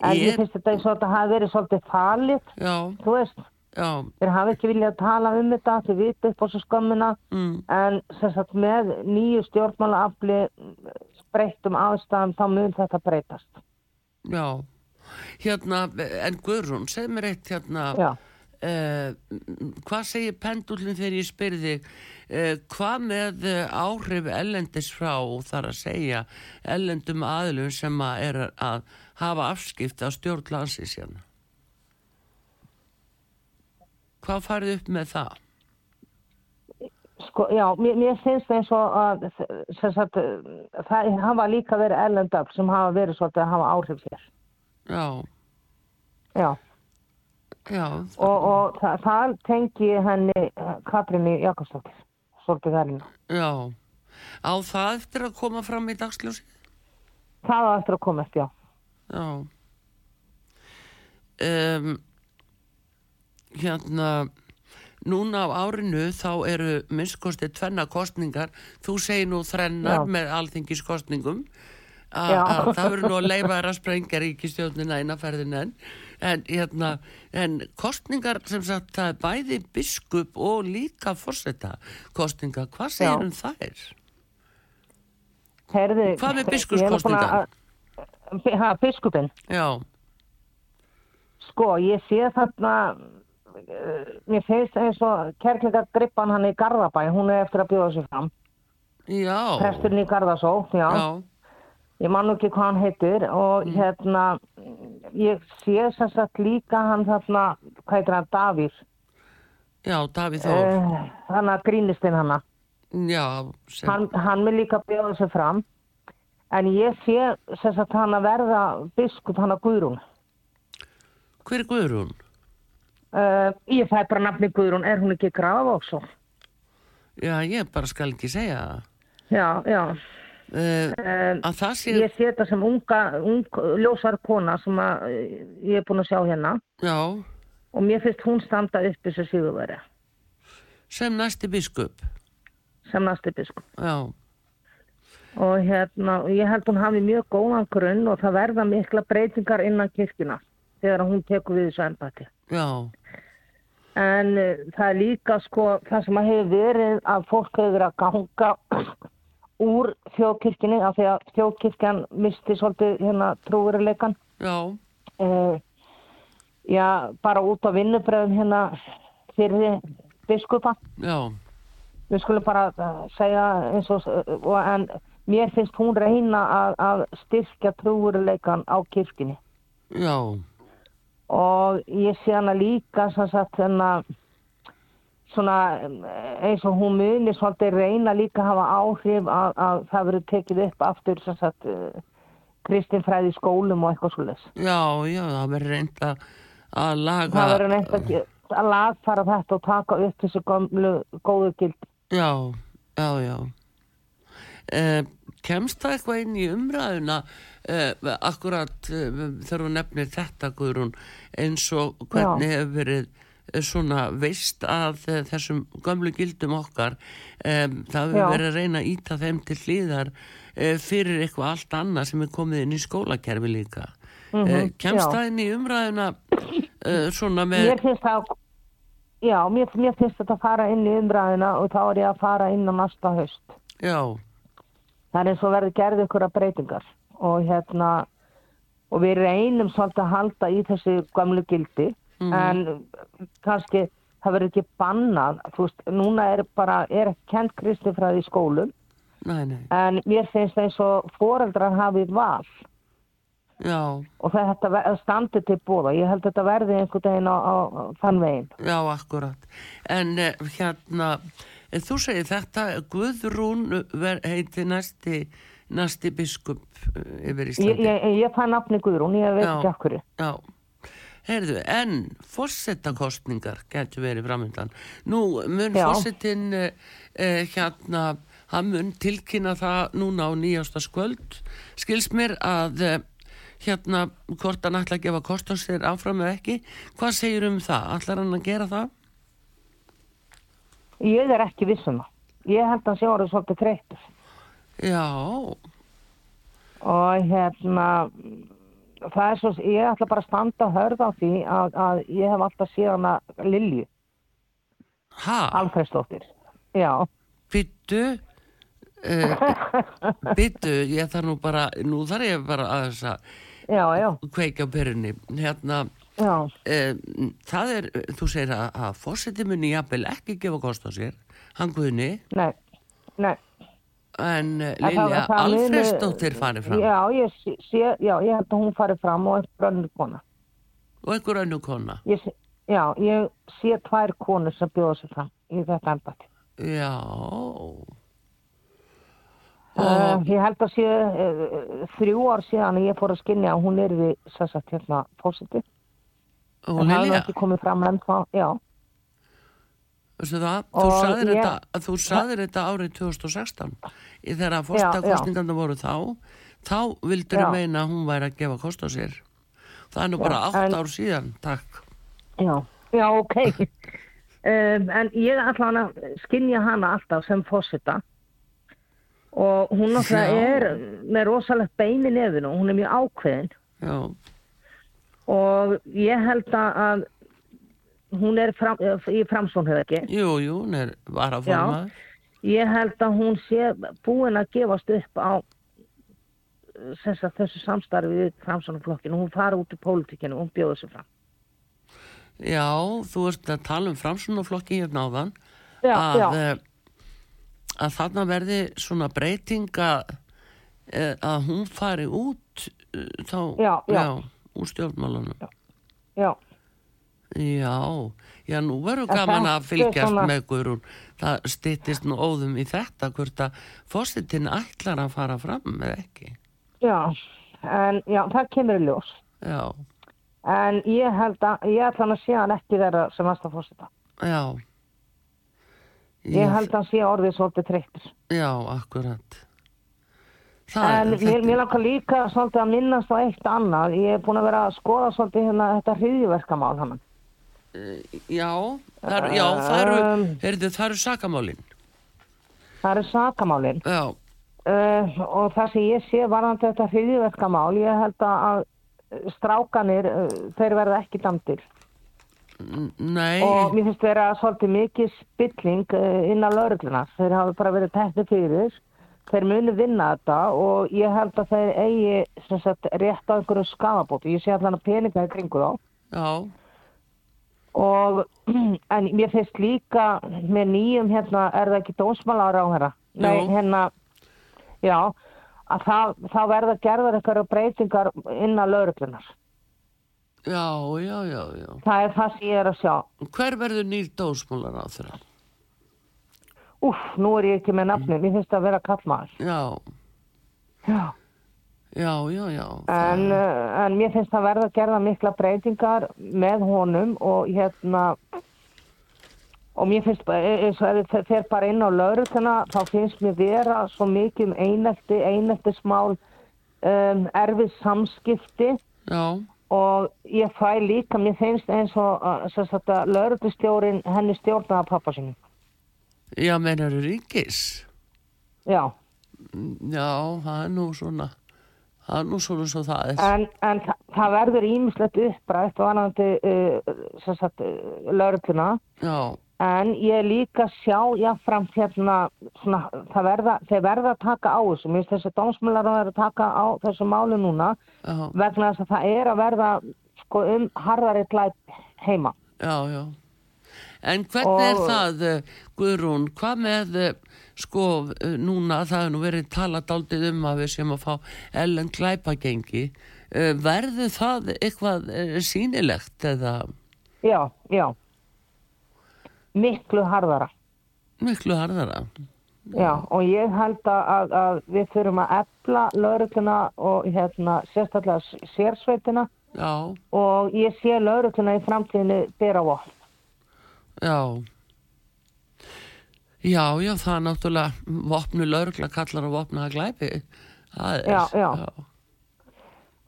Speaker 2: En ég,
Speaker 1: Ég-
Speaker 2: finnst þetta eins og þetta hafi verið svolítið falið,
Speaker 1: já,
Speaker 2: þú veist.
Speaker 1: já,
Speaker 2: Þeir hafi ekki viljað tala um þetta, þeir vita upp á svo skömmina.
Speaker 1: mm,
Speaker 2: En sem sagt með nýju stjórnmálaafli breyttum aðstæðum þá mun þetta breytast.
Speaker 1: já. Hérna, eh, en Guðrún, segð mér eitt hérna,
Speaker 2: Já.
Speaker 1: uh, hvað segir pendullin þegar ég spyrði uh, hvað með eh, áhrif ellendis frá þar að segja ellendum aðlum sem að er að hafa afskipta á stjórn landsins hérna hvað farið upp með það?
Speaker 2: Sko, já, mér, mér finnst eins og að sem sagt, það hafa líka verið ellendöfl sem hafa verið svolítið að hafa áhrif hér.
Speaker 1: Já,
Speaker 2: Já,
Speaker 1: já,
Speaker 2: og, og það, það tengi henni Katrinni Jakobsdóttir, svolítið verðinu.
Speaker 1: já á það eftir að koma fram í dagsljósi?
Speaker 2: Það var eftir að komast, já.
Speaker 1: Já um, Hérna Núna á árinu þá eru minnskosti tvenna kostningar þú segir nú þrennar
Speaker 2: Já.
Speaker 1: með alþingiskostningum A-
Speaker 2: Já.
Speaker 1: að það verður nú að leifa þær að sprengja ríkistjóðnina einaferðin en en, hérna, en kostningar sem sagt það er bæði biskup og líka forseta kostninga, hvað
Speaker 2: Já.
Speaker 1: segir um þær?
Speaker 2: Herði,
Speaker 1: Hvað með biskupskosningar?
Speaker 2: Ha, biskupin.
Speaker 1: Já,
Speaker 2: Sko, ég sé þarna, uh, mér finnst eins og kerklingagrippan hann í Garðabæ, hún er eftir að bjóða sér fram.
Speaker 1: já
Speaker 2: Presturinn í Garðasó, já.
Speaker 1: Já,
Speaker 2: Ég man nú ekki hvað hann heitir og hérna, ég sé sem sagt líka hann þarna, hvað heitir hann, Davís.
Speaker 1: já, Davíð Þór
Speaker 2: Uh, hann að grínistinn hanna.
Speaker 1: Já, sem,
Speaker 2: Hann, hann vil líka bjóða sér fram. En ég sé sem sagt hann að verða biskup hann að Guðrún.
Speaker 1: hver er Guðrún?
Speaker 2: Uh, ég fæ bara nafni Guðrún, er hún ekki graf og svo?
Speaker 1: Já, ég bara skal ekki segja það.
Speaker 2: Já, já.
Speaker 1: Uh,
Speaker 2: Um,
Speaker 1: að það sé,
Speaker 2: ég sé þetta sem unga, ung, ljósar kona sem að, eh, ég er búin að sjá hérna
Speaker 1: já,
Speaker 2: og mér finnst hún standa upp þessu síðuveri
Speaker 1: sem næsti biskup.
Speaker 2: sem næsti biskup
Speaker 1: Já,
Speaker 2: og hérna, og ég held hún hafi mjög góðan grunn og það verða mikla breytingar innan kirkina þegar hún tekur við þessu ennbæti
Speaker 1: já,
Speaker 2: en uh, það er líka sko það sem að hefur verið að fólk hefur verið að ganga [clears throat] úr þjóðkirkini af því að þjóðkirkjan misti svolítið hérna trúveruleikan
Speaker 1: já,
Speaker 2: uh, já, bara út á vinnubröðum hérna fyrir biskupa.
Speaker 1: já,
Speaker 2: Við skulum bara eh, segja eins og, og en mér finnst hún reyna að, að styrkja trúurleikan á kirkini
Speaker 1: já,
Speaker 2: og ég sé hana líka sem sagt hérna svona eh, eins og hún muni svolítið reyna líka að hafa áhrif að, að það verður tekið upp aftur sem sagt eh, kristinfræði í skólum og eitthvað svoleiðs.
Speaker 1: já, já, það verður reynd að, að laga.
Speaker 2: það verður neitt að, ge- að lagfara þetta og taka upp þessu gamlu góðu gild
Speaker 1: Já, já, já. Uh, kemst það eitthvað inn í umræðuna, uh, akkurat uh, þurfum nefnir þetta, Guðrún, eins og hvernig hefur verið eh, svona veist að eh, þessum gamlu gildum okkar um, það hefur
Speaker 2: Já.
Speaker 1: verið að reyna að íta þeim til hlýðar uh, fyrir eitthvað allt annað sem er komið inn í skólakerfi líka mm kemst
Speaker 2: Mhm, já.
Speaker 1: það inn í umræðuna uh, svona með
Speaker 2: mér finnst það já, mér, mér finnst þetta að fara inn í umræðina og þá er ég að fara inn á næsta haust
Speaker 1: já,
Speaker 2: það er eins og verður gerð ykkur að breytingar og hérna og við reynum svolítið að halda í þessu gamlu gildi en kannski það verður ekki bannað þú veist, núna er bara er ekki kent kristinfræði í skólum
Speaker 1: næ, næ,
Speaker 2: en mér finnst eins og foreldrar hafið val
Speaker 1: já
Speaker 2: og það þetta ver- standi til bóða. Ég held að þetta verði einhvern veginn á, á á þann veginn.
Speaker 1: Já, akkurat. En eh, hérna, eh, þú segir þetta, Guðrún ver, heiti næsti, næsti biskup eh, yfir
Speaker 2: Ég,
Speaker 1: Íslandi.
Speaker 2: ég, ég fæ nafni Guðrún, ég veit
Speaker 1: Já.
Speaker 2: ekki af hverju.
Speaker 1: Já, Heyrðu, en fórsetakostningar getur verið framöndan. Nú mun
Speaker 2: Já.
Speaker 1: fórsetin uh, hérna, hann mun tilkynna það núna á nýjástaskvöld. Skils mér að uh, hérna, hvort hann ætla að gefa kost á sér áfram eða ekki. Hvað segir um það? Ætlar hann að gera það?
Speaker 2: Ég er ekki vissum það. Ég held að hann sé orðið svolítið þreyttur.
Speaker 1: Já,
Speaker 2: og hérna það er svo, ég ætla bara að standa að hörða á því að, að ég hef alltaf síðan að Lilju,
Speaker 1: ha,
Speaker 2: Alfreðsdóttir já,
Speaker 1: byttu,
Speaker 2: [laughs]
Speaker 1: uh, byttu, ég þarf nú bara, nú þarf ég bara að þess að
Speaker 2: já, já,
Speaker 1: kveika á perunni. Hérna,
Speaker 2: já
Speaker 1: Eh, það er, þú segir að, að fórseti muni jafnvel ekki gefa kost á sér, hann guðni,
Speaker 2: nei, nei
Speaker 1: en eh,
Speaker 2: En það-
Speaker 1: Lilja
Speaker 2: það muni-
Speaker 1: Alfreðsdóttir farið fram
Speaker 2: já, ég sé, sé- já, ég held að hún farið fram og einhver önnur kona
Speaker 1: og einhver önnur kona.
Speaker 2: ég sé, já, ég sé tvær konur sem bjóða sér fram í þetta embati
Speaker 1: Já,
Speaker 2: Uh, ég held að sé uh, þrjú ár síðan að ég fór að skinja að hún er við sæsagt hérna fósiti.
Speaker 1: og
Speaker 2: en það er
Speaker 1: Lilja,
Speaker 2: ekki komið fram ennþá, já.
Speaker 1: veistu það, þú
Speaker 2: Og
Speaker 1: sagðir,
Speaker 2: ég-
Speaker 1: þetta, þú sagðir þetta árið 2016, í þegar að fórstakostningarna voru þá, þá vildur
Speaker 2: Já.
Speaker 1: þú meina að hún væri að gefa kost á sér. Það er nú bara átt
Speaker 2: en-
Speaker 1: ár síðan, takk.
Speaker 2: Já, já, ok.
Speaker 1: [laughs]
Speaker 2: Um, en ég ætla hann að skinja hana alltaf sem fósita og hún náttúrulega
Speaker 1: Já.
Speaker 2: er með rosalegt bein í nefinu og hún er mjög ákveðin
Speaker 1: Já,
Speaker 2: og ég held að- að hún er fram, í framsónhefð ekki.
Speaker 1: jú, jú, hún er varaformaður.
Speaker 2: Ég held að hún sé búin að gefast upp á eh, sem sagt, þessu samstarfi við framsónaflokkinu. Hún fara út í pólitíkinu og hún bjóður sér fram.
Speaker 1: Já, þú ert að tala um framsunaflokki hérna áðan
Speaker 2: Já,
Speaker 1: að,
Speaker 2: já.
Speaker 1: eh, að þarna verði svona breytinga eh, að hún fari út eh, þá,
Speaker 2: Já, já.
Speaker 1: úr stjórnmálunum já.
Speaker 2: Já,
Speaker 1: já, nú verður
Speaker 2: En
Speaker 1: gaman
Speaker 2: það
Speaker 1: að fylgjast
Speaker 2: er svona-
Speaker 1: með Guðrún það styttist nú óðum í þetta hvort að fórsetin ætlar að fara fram eða ekki
Speaker 2: já. En já, það kemur í ljós.
Speaker 1: já,
Speaker 2: En ég held að, ég ætla hann að sé hann ekki vera sem næsta fórseta.
Speaker 1: já
Speaker 2: Ég held að hann sé orðið svolítið treyttur.
Speaker 1: já, akkurat Það
Speaker 2: En
Speaker 1: er-
Speaker 2: mér,
Speaker 1: þetta-
Speaker 2: mér langar líka svolítið að minnast á eitt annað. Ég er búin að vera að skoða svolítið hérna þetta hriðiverkamál hann.
Speaker 1: Já, það, eru- já, það eru,
Speaker 2: Um.
Speaker 1: heyrðu, það eru sakamálin.
Speaker 2: Það eru sakamálin.
Speaker 1: Já,
Speaker 2: Uh, og það sem ég sé varðandi þetta hriðiverkamál, ég held að að strákanir, uh, þeir verða ekki damdir.
Speaker 1: n- nei,
Speaker 2: Og mér finnst vera svolítið mikið spilling eh, innan lauruglunar. Þeir hafa bara verið tekni fyrir. Þeir munu vinna þetta og ég held að þeir eigi sem sagt, rétt á einhverju skafabóti. Ég sé allan að peninga í kringu þá.
Speaker 1: já,
Speaker 2: Og, [clears throat] en mér finnst líka með nýjum hérna, er það ekki dósmálar á hérna? Nei,
Speaker 1: Jú.
Speaker 2: hérna, já, að það, þá verða gerðar einhverju breytingar innan lauruglunar.
Speaker 1: já, já, já, já.
Speaker 2: Það er það sem ég er að sjá.
Speaker 1: Hver verður nýr dósmólar á þeirra?
Speaker 2: Úff, nú er ég ekki með nafni. Mér finnst það að vera kallmaður.
Speaker 1: Já,
Speaker 2: Já.
Speaker 1: já, já, já.
Speaker 2: En, uh, en mér finnst það verða að gera mikla breytingar með honum og hérna og mér finnst bara, e- eins og ef ég fer bara inn á lauruguna þá finnst mér vera svo mikið um einelti, eineltismál um, erfið samskipti
Speaker 1: Já,
Speaker 2: og ég fæ líka, mér finnst eins og uh, sem sagt að laurugustjórin henni stjórnaða pappa sinni
Speaker 1: já, meinar ríkis.
Speaker 2: já,
Speaker 1: Já, það er nú svona, það er nú svona svo það er.
Speaker 2: en, en þa það verður ímislegt upprætt varandi uh, sem sagt uh, lauruguna
Speaker 1: Já,
Speaker 2: En ég er líka að sjá jáfnfram hérna, svona, það verða, þeir verða að taka á þessu, mér finnst þessi dómsmjölar að verða að taka á þessu máli núna
Speaker 1: já,
Speaker 2: vegna þess að það er að verða sko um harðari glæp heima.
Speaker 1: já, já. En hvernig er
Speaker 2: Og-
Speaker 1: það, eh, Guðrún, hvað með, eh, sko, eh, núna það hefur nú verið talað daldið um að við séum að fá ellen glæpagengi. Eh, Verður það eitthvað eh, sýnilegt eða
Speaker 2: Já, já. Miklu harðara.
Speaker 1: miklu harðara?
Speaker 2: Já, og ég held að, að, að við þurfum að efla laurugluna og hérna sérstaklega s- sérsveitina
Speaker 1: já,
Speaker 2: og ég sé laurugluna í framtíðinu bera vopn.
Speaker 1: já. Já, já, það er náttúrulega vopnu laurugla kallar að vopna að glæpi. Það er,
Speaker 2: Já, já.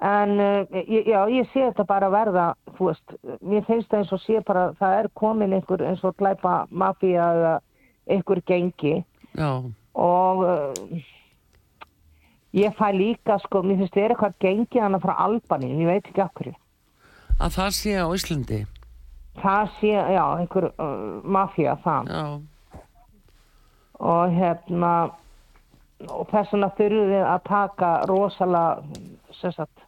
Speaker 2: En uh, ég- já, ég sé þetta bara verða, þú veist, mér finnst það eins og sé bara, það er komin einhver eins og glæpa mafía eða einhver gengi
Speaker 1: Já,
Speaker 2: og uh, ég fæ líka, sko, mér finnst það er eitthvað gengi hana frá Albaníu, ég veit ekki af hverju.
Speaker 1: að það sé á Íslandi.
Speaker 2: Það sé, já, einhver uh, mafía það
Speaker 1: Já,
Speaker 2: og hérna, og þess vegna þurfum við að taka rosalega, sem sagt,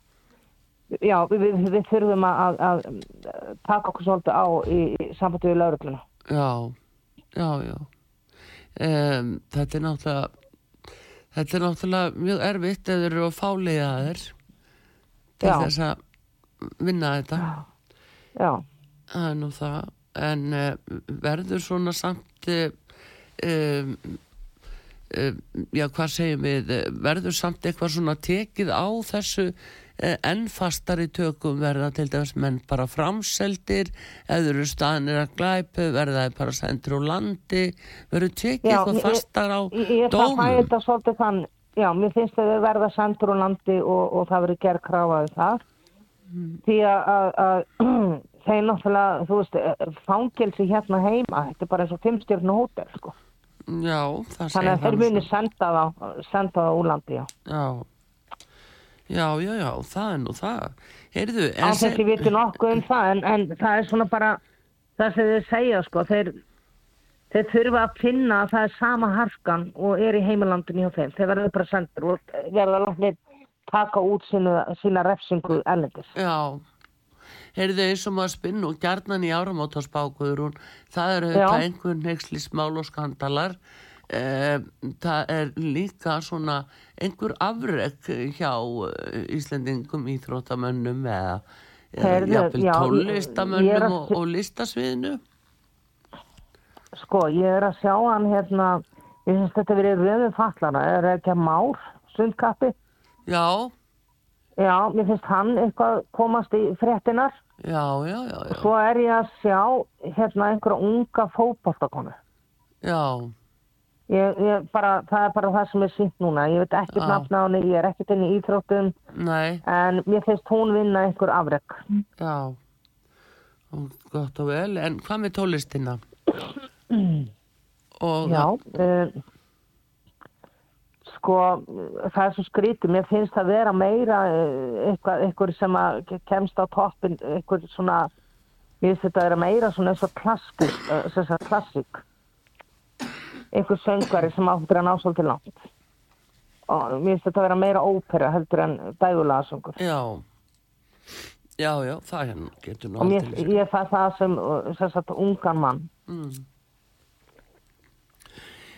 Speaker 2: já, við, við, við þurfum að, að, að taka okkur svolítið á í, í sambandi við laurugluna.
Speaker 1: já, já, já. Um, þetta er náttúrulega, þetta er náttúrulega mjög erfitt ef þeir eru að fálega þeir til
Speaker 2: Já.
Speaker 1: þess að vinna þetta.
Speaker 2: Já,
Speaker 1: Það er nú það, en uh, verður svona samt, uh, um, uh, já hvað segjum við, eh, verður samt eitthvað svona tekið á þessu uh, ennfastari tökum verða til dæmis menn bara framseldir, eða eru staðnir að glæpu, verða þeir bara sendur úr landi, verður tekið
Speaker 2: já,
Speaker 1: eitthvað fastar á
Speaker 2: ég, ég, það fæ
Speaker 1: dómum?
Speaker 2: þetta svolítið þann, já, mér finnst það að verða sendur úr landi og, og það verður gerð krafaði það. Því að, að, að [clears throat] þeir náttúrulega, þú veist, eh, fangelsi hérna heima, þetta er bara eins og fimmstjörnu hótel, sko.
Speaker 1: Já, það segir
Speaker 2: Þannig að þeir
Speaker 1: nú
Speaker 2: muni senda þá, senda þá úr landi, já.
Speaker 1: Já. Já, já, já, það er nú það. Heyrðu,
Speaker 2: Á
Speaker 1: en
Speaker 2: þess að við vitum nokkuð um það, en, en það er svona bara það sem þeir segja, sko. Þeir, þeir þurfa að finna að það er sama harkan og er í heimilandinu hjá þeim. Þeir verður bara sendur og verða látnið taka út sínu, sína refsingu ellendis.
Speaker 1: Já, heyrðu eins og maður spinn og gjarnan í áramótarspákuður hún, það eru
Speaker 2: Já.
Speaker 1: auðvitað einhver neykslismál og skandalar, eh, það er líka svona einhver afrek hjá eh, Íslendingum íþróttamönnum eða eða
Speaker 2: Heyrðu,
Speaker 1: jafnvel
Speaker 2: já, ég er
Speaker 1: tóllistamönnum
Speaker 2: að-
Speaker 1: og, og listasviðinu.
Speaker 2: Sko, ég er að sjá hann hérna, ég finnst þetta verið röðum fallana, er það ekki að már, sundkappi?
Speaker 1: Já,
Speaker 2: Já, mér finnst hann eitthvað komast í fréttinar.
Speaker 1: já, já, já, já,
Speaker 2: Svo er ég að sjá hérna einhverja unga fótboltakonu.
Speaker 1: já,
Speaker 2: Ég, ég bara, það er bara það sem er sýnt núna. Ég veit ekkert
Speaker 1: Já.
Speaker 2: nafna á henni, ég er ekkert inn í íþróttum,
Speaker 1: nei,
Speaker 2: en mér finnst hún vinna einhver afreg.
Speaker 1: já, Og gott og vel, en hvað með tóllistina? Og,
Speaker 2: Já. Um, sko, það er svo skrítið. Mér finnst það vera meira eh, eitthvað, eitthvað sem að kemst á toppin, eitthvað svona, mér finnst þetta vera meira svona eins og klassik, sem sagt klassik. Einhver söngari sem áttur að ná svolítið langt. Og mér finnst þetta vera meira ópera heldur en dægulega söngur.
Speaker 1: Já, já, já, það hérna getur nú
Speaker 2: og mér,
Speaker 1: aldrei.
Speaker 2: ég fæ það sem, uh, sem sagt, ungan mann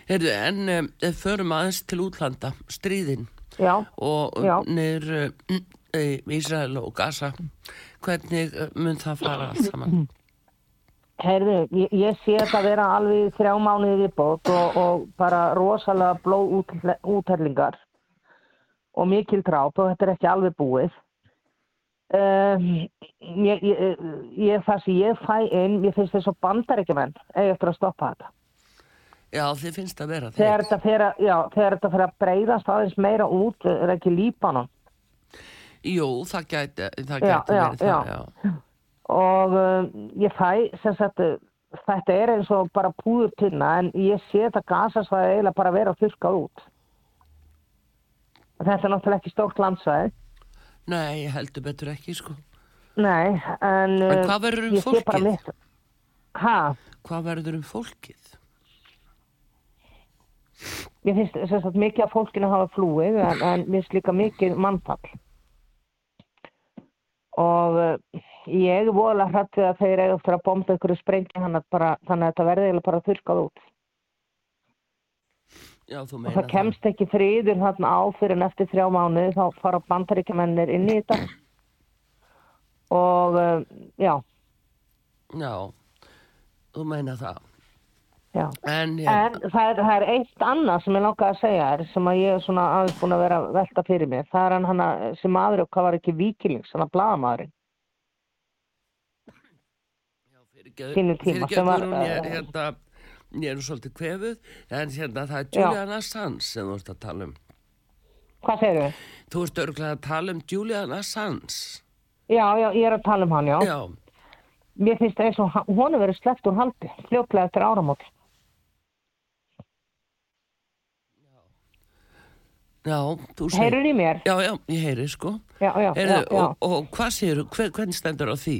Speaker 1: Heyrðu, en um, förum aðeins til útlanda, stríðin
Speaker 2: já,
Speaker 1: og
Speaker 2: Já.
Speaker 1: nýr uh, Ísrael og Gaza. Hvernig eh, mun það fara allt saman?
Speaker 2: heyrðu, ég, ég sé þetta vera alveg í þrjá mánuði viðbót og, og bara rosalega blóð útherlingar og mikil dráp og þetta er ekki alveg búið um, ég, ég, ég, það sem ég fæ inn ég finnst þess að bandaríkjumenn eigi eftir að stoppa þetta
Speaker 1: Já, þið finnst að vera
Speaker 2: þegar
Speaker 1: þeir.
Speaker 2: þetta fer að, já, þegar þetta fer að breyðast aðeins meira út er ekki Líbanon
Speaker 1: Jú, það gæti, eh, það
Speaker 2: Já,
Speaker 1: gæti
Speaker 2: já,
Speaker 1: verið það,
Speaker 2: já.
Speaker 1: já.
Speaker 2: og uh, ég fæ sem sagt, uh, þetta er eins og bara púður tunna en ég sé þetta gasasvæði eiginlega bara vera þurrkað út þetta er náttúrulega ekki stórt landsvæði
Speaker 1: Nei, heldur betur ekki, sko.
Speaker 2: nei, en, uh,
Speaker 1: En hvað verður um
Speaker 2: ég sé bara
Speaker 1: fólkið?
Speaker 2: mitt ha,
Speaker 1: Hvað verður um fólkið?
Speaker 2: ég finnst sem sagt mikið af fólkinu hafa flúið en, en mér finnst líka mikið mannfall og uh, ég er voðalega hrætt við að þeir eiga eftir að bomba ykkur sprengi hann að bara, þannig að þetta verði eiginlega bara þurrkað út
Speaker 1: Já, þú
Speaker 2: og
Speaker 1: meina
Speaker 2: það kemst ekki friður þarna á fyrir en eftir þrjá mánu þá fara bandaríkjamennir inn í þetta og um, já,
Speaker 1: Já, þú meina það.
Speaker 2: já
Speaker 1: En,
Speaker 2: en það er, það er eitt annað sem ég langaði að segja er sem að ég er svona aðeins búin að vera að velta fyrir mér það er hann hana sem aður okkar var ekki vikiling svona blaðamaðurinn sínum tíma sem var,
Speaker 1: Fyrirgeður hún, ég, hérna, ég er nú svolítið kvefuð, en hérna það er
Speaker 2: Já.
Speaker 1: Julian Assange sem þú ert að tala um.
Speaker 2: hvað segir við?
Speaker 1: Þú ert örglega að tala um Julian Assange.
Speaker 2: Já, já, ég er að tala um hann, já.
Speaker 1: Já,
Speaker 2: Mér finnst það eins og hann- honum verið sleppt úr haldi, fljóplega eftir áramót.
Speaker 1: já, þú segir.
Speaker 2: Heyrur í mér?
Speaker 1: Já, já, ég heyri sko.
Speaker 2: Já, já,
Speaker 1: Heyrðu,
Speaker 2: já, já.
Speaker 1: Og, og hvað séu, hver, hvernig stendur á því?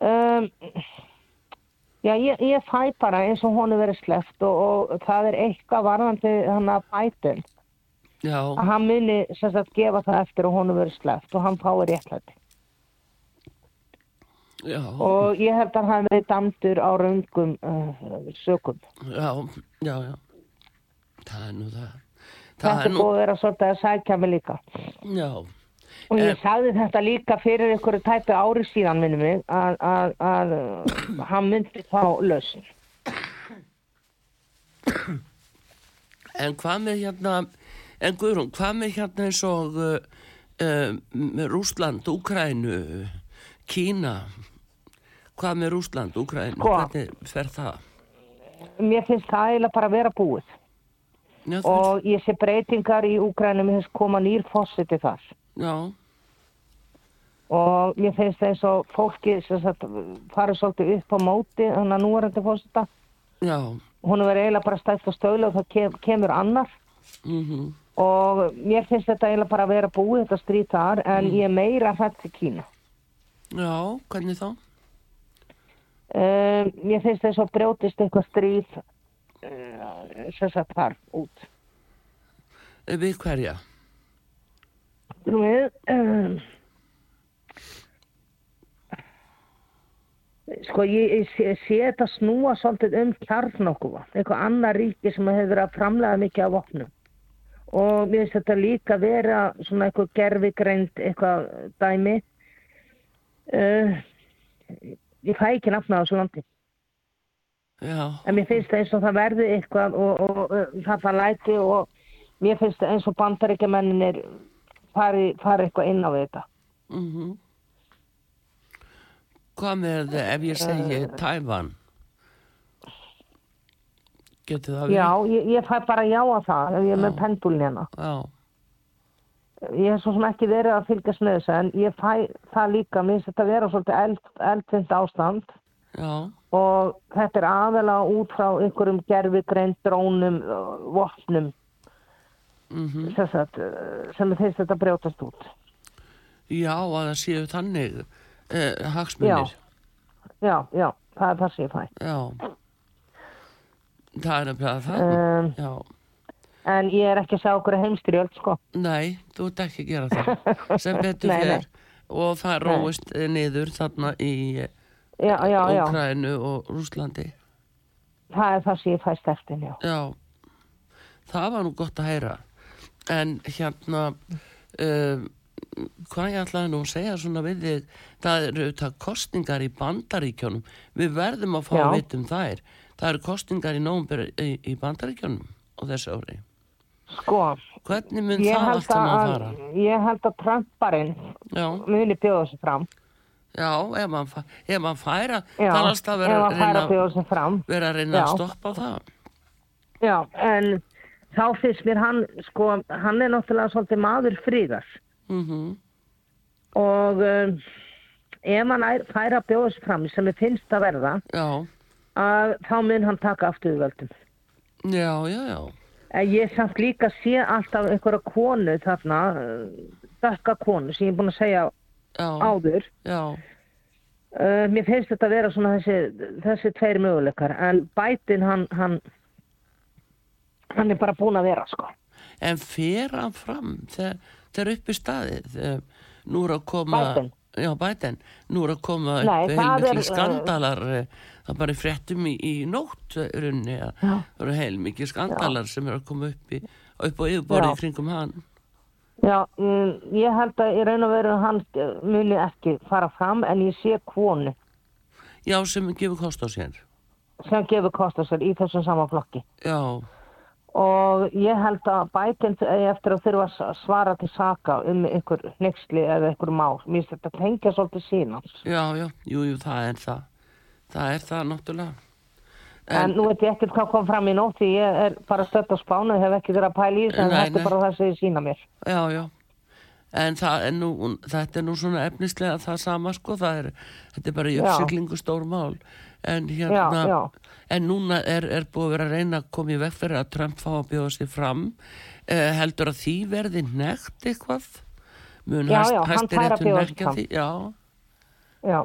Speaker 2: Um, já, ég, ég fæ bara eins og honum verið sleppt og, og það er eitthvað varðandi hann að bætum.
Speaker 1: Já,
Speaker 2: Að hann muni sem sagt gefa það eftir og honum verið sleppt og hann fái réttlæti.
Speaker 1: já,
Speaker 2: Og ég held að hann verið damdur á raungum uh, sökum.
Speaker 1: já, já, já. Það er nú það.
Speaker 2: Þetta er búið að vera svolítið að sækja mig líka.
Speaker 1: já,
Speaker 2: Og ég
Speaker 1: En-
Speaker 2: sagði þetta líka fyrir einhverju tæpi ári síðan minnum mig að, að, að uh, hann myndi þá lausn.
Speaker 1: en hvað með hérna, en Guðrún, hvað með hérna eins og uh, uh, Rúsland, Úkrænu, Kína, hvað með Rúsland, Úkrænu,
Speaker 2: Sko.
Speaker 1: hvernig fer það?
Speaker 2: Mér finnst það eiginlega bara að vera búið.
Speaker 1: Já, það-
Speaker 2: Og ég sé breytingar í Úkrænum, mér finnst koma nýr fósiti þar.
Speaker 1: já,
Speaker 2: Og mér finnst það eins og fólki sem sagt farið svolítið upp á móti, þannig að núverandi fósita.
Speaker 1: já,
Speaker 2: Hún er eiginlega bara stætt og stöðla og það kem, kemur annar.
Speaker 1: mhm,
Speaker 2: Og mér finnst þetta eiginlega bara að vera búið þetta stríð þar, en ég er meira hrætt til Kína.
Speaker 1: já, hvernig þá?
Speaker 2: Um, mér finnst þess að brjótist eitthvað stríð uh, sem sagt þar út.
Speaker 1: Eh, Við hverja?
Speaker 2: Nú við, um, sko ég, ég, sé, ég sé þetta snúa svolítið um kjarn okkur, eitthvað annað ríki sem hefur verið að framlega mikið af vopnum. Og mér finnst þetta líka vera svona eitthvað gerfigreind, eitthvað dæmi. Uh, ég fæ ekki nafna á þessu landi.
Speaker 1: Já,
Speaker 2: En mér finnst það eins og það verði eitthvað og, og, og það það læti og mér finnst það eins og bandaríkjamenninir fari, fari eitthvað inn á við þetta.
Speaker 1: mhm. Hvað með ef ég segi
Speaker 2: Eh.
Speaker 1: Tævan? Getur það
Speaker 2: Já, ég, ég fæ bara já á það ef ég er með pendulin hérna.
Speaker 1: Já,
Speaker 2: Ég hef svo sem ekki verið að fylgjast með þessu en ég fæ það líka, mér finnst þetta vera svolítið eld, eldfind ástand
Speaker 1: já,
Speaker 2: og þetta er aðalega út frá einhverjum gerfigreind, drónum, uh, vopnum
Speaker 1: mhm.
Speaker 2: sem, sagt, uh, sem mér finnst þetta brjótast út.
Speaker 1: Já, að það séu þannig eh, hagsmunir.
Speaker 2: Já, já, það er það sem ég fæ.
Speaker 1: Já. Það er nefnilega það.
Speaker 2: Um,
Speaker 1: Já.
Speaker 2: En ég er ekki að sjá okkur heimstyrjöld, sko.
Speaker 1: Nei, þú ert ekki að gera
Speaker 2: [laughs]
Speaker 1: það. Sem betur
Speaker 2: Nei, nei.
Speaker 1: fyrir og það róist eh, niður þarna í
Speaker 2: Já, já, já.
Speaker 1: Ókrænu og Rúslandi.
Speaker 2: Það er það sem ég fæ stertin, já.
Speaker 1: Já, það var nú gott að heyra. En hérna, uh, hvað ég ætlaði nú að segja svona við þig, það eru auðvitað kostningar í bandaríkjónum. Við verðum að fá
Speaker 2: Já.
Speaker 1: að vita um þær. Það eru kostningar í nómbur í, í bandaríkjónum á þessu ári.
Speaker 2: Sko,
Speaker 1: Hvernig mun
Speaker 2: ég
Speaker 1: það
Speaker 2: held,
Speaker 1: allt saman
Speaker 2: að,
Speaker 1: fara?
Speaker 2: ég held að Trumparinn
Speaker 1: Já,
Speaker 2: muni bjóða sig fram.
Speaker 1: já, ef mann fa man færa,
Speaker 2: Já,
Speaker 1: það er alltaf
Speaker 2: ef
Speaker 1: verið
Speaker 2: að
Speaker 1: að
Speaker 2: færa
Speaker 1: reyna,
Speaker 2: bjóða sig fram.
Speaker 1: vera að, reyna að
Speaker 2: Já.
Speaker 1: stoppa það.
Speaker 2: Já, en þá finnst mér hann, sko, hann er náttúrulega svolítið maður fríðar.
Speaker 1: Mm
Speaker 2: Og um, ef hann er- fær að bjóða sig fram, sem ég finnst að verða,
Speaker 1: Já,
Speaker 2: að þá mun hann taka aftur við völdum.
Speaker 1: já, já, já.
Speaker 2: En ég samt líka sé alltaf einhverja konu þarna, uh, dökka konu sem ég er búin að segja
Speaker 1: Já,
Speaker 2: áður.
Speaker 1: já,
Speaker 2: Uh, mér finnst þetta að vera svona þessi, þessi tveir möguleikar en bætin hann, hann hann er bara búin að vera sko.
Speaker 1: en fer hann fram þegar, þegar upp í staðið eh, nú er að koma
Speaker 2: Biden.
Speaker 1: Já, Bæten, nú er að koma
Speaker 2: Nei,
Speaker 1: upp
Speaker 2: það
Speaker 1: heilmikli
Speaker 2: er, eh,
Speaker 1: skandalar eh, það er bara í fréttum í, í nótt eh, runni að það eru heilmikli skandalar sem eru að koma upp, í, upp á yfirborðið
Speaker 2: Já.
Speaker 1: kringum hann
Speaker 2: Já, um, ég held að í raun og veru hann eh, muni ekki fara fram en ég sé konu
Speaker 1: Já, sem gefur kost á sér
Speaker 2: sem gefur kosta sér í þessum sama flokki
Speaker 1: Já,
Speaker 2: og ég held að bætin eftir að þurfa að s- svara til saka um einhver nexli eða einhver mál mér finnst þetta tengja svolítið sínans
Speaker 1: já, já, jú, jú, það er það það er það náttúrulega.
Speaker 2: En, nú veit ég ekkert hvað kom fram í nótt því ég er bara stött á spánu, hef ekki verið að pæla í þessu en
Speaker 1: Nei,
Speaker 2: þetta
Speaker 1: nei.
Speaker 2: er bara það sem ég sína mér.
Speaker 1: Já, já. En það er nú, þetta er nú svona efnislega það sama, sko, það er, þetta er bara í
Speaker 2: Já.
Speaker 1: uppsiglingu stór mál. En hérna,
Speaker 2: Já, já.
Speaker 1: en núna er, er búið að vera að reyna að koma í veg fyrir að Trump fá að bjóða sér fram. Eh, heldur að því verði nekt eitthvað? Mun
Speaker 2: Já,
Speaker 1: hæst-
Speaker 2: já, hann fær að
Speaker 1: Hæstiréttur
Speaker 2: bjóða sig
Speaker 1: hnekkja
Speaker 2: fram.
Speaker 1: því? Já,
Speaker 2: Já,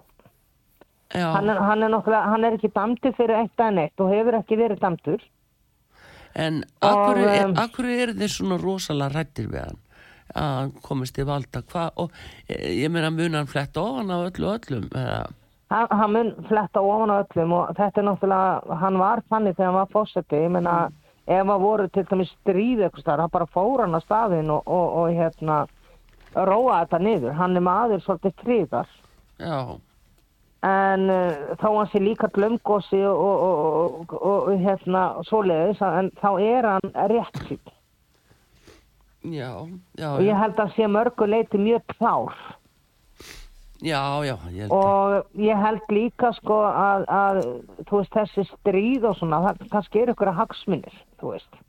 Speaker 1: já.
Speaker 2: hann er, hann, er nokkla, hann er ekki damdur fyrir eitt að neitt og hefur ekki verið damdur.
Speaker 1: En
Speaker 2: Og,
Speaker 1: akkur, er,
Speaker 2: um,
Speaker 1: akkur er þeir svona rosalega rættir við hann að hann komist í valda hvað og eh, ég meina mun hann fletta ofan af öllu og öllum eða,
Speaker 2: Hann, hann mun fletta ofan á öllum og þetta er náttúrulega, hann var þannig þegar hann var fósetti, ég meina
Speaker 1: Mm.
Speaker 2: ef hann voru til dæmis stríð eitthvað starf, hann bara fór hann á staðin og, og, og hérna róa þetta niður, hann er maður svolítið fríðar
Speaker 1: já,
Speaker 2: en uh, þá hann sé líka glömgosi og, og, og, og, og hérna svoleiðis, en þá er hann rétt sín
Speaker 1: já, já
Speaker 2: og ég held að sé mörgu leiti mjög klár
Speaker 1: já, já, ég held að
Speaker 2: og ég held líka sko að, að þú veist þessi stríð og svona, það kannski er ykkur að hagsmunir, þú veist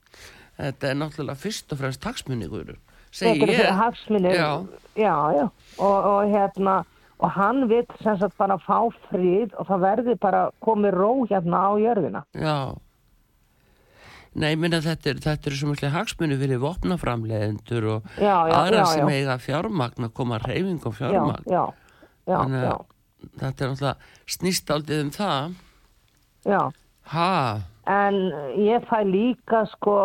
Speaker 1: þetta er náttúrulega fyrst og fremst taksmunningur segi
Speaker 2: Þetta eru
Speaker 1: ég
Speaker 2: fyrir hagsmunir
Speaker 1: já,
Speaker 2: já, já. Og, og hérna og hann vil sem sagt bara fá fríð og það verði bara komið ró hérna á jörðina
Speaker 1: já Nei, ég minna þetta er, þetta er svo mjög hagsmunni fyrir vopnaframlegendur og
Speaker 2: Já, já,
Speaker 1: aðra
Speaker 2: já,
Speaker 1: sem
Speaker 2: já.
Speaker 1: eiga fjármagn að koma reyfingum
Speaker 2: já,
Speaker 1: fjármagn.
Speaker 2: já, já,
Speaker 1: Þannig
Speaker 2: já,
Speaker 1: að þetta er náttúrulega snýst aldrei um það.
Speaker 2: já
Speaker 1: Ha,
Speaker 2: en ég fæ líka sko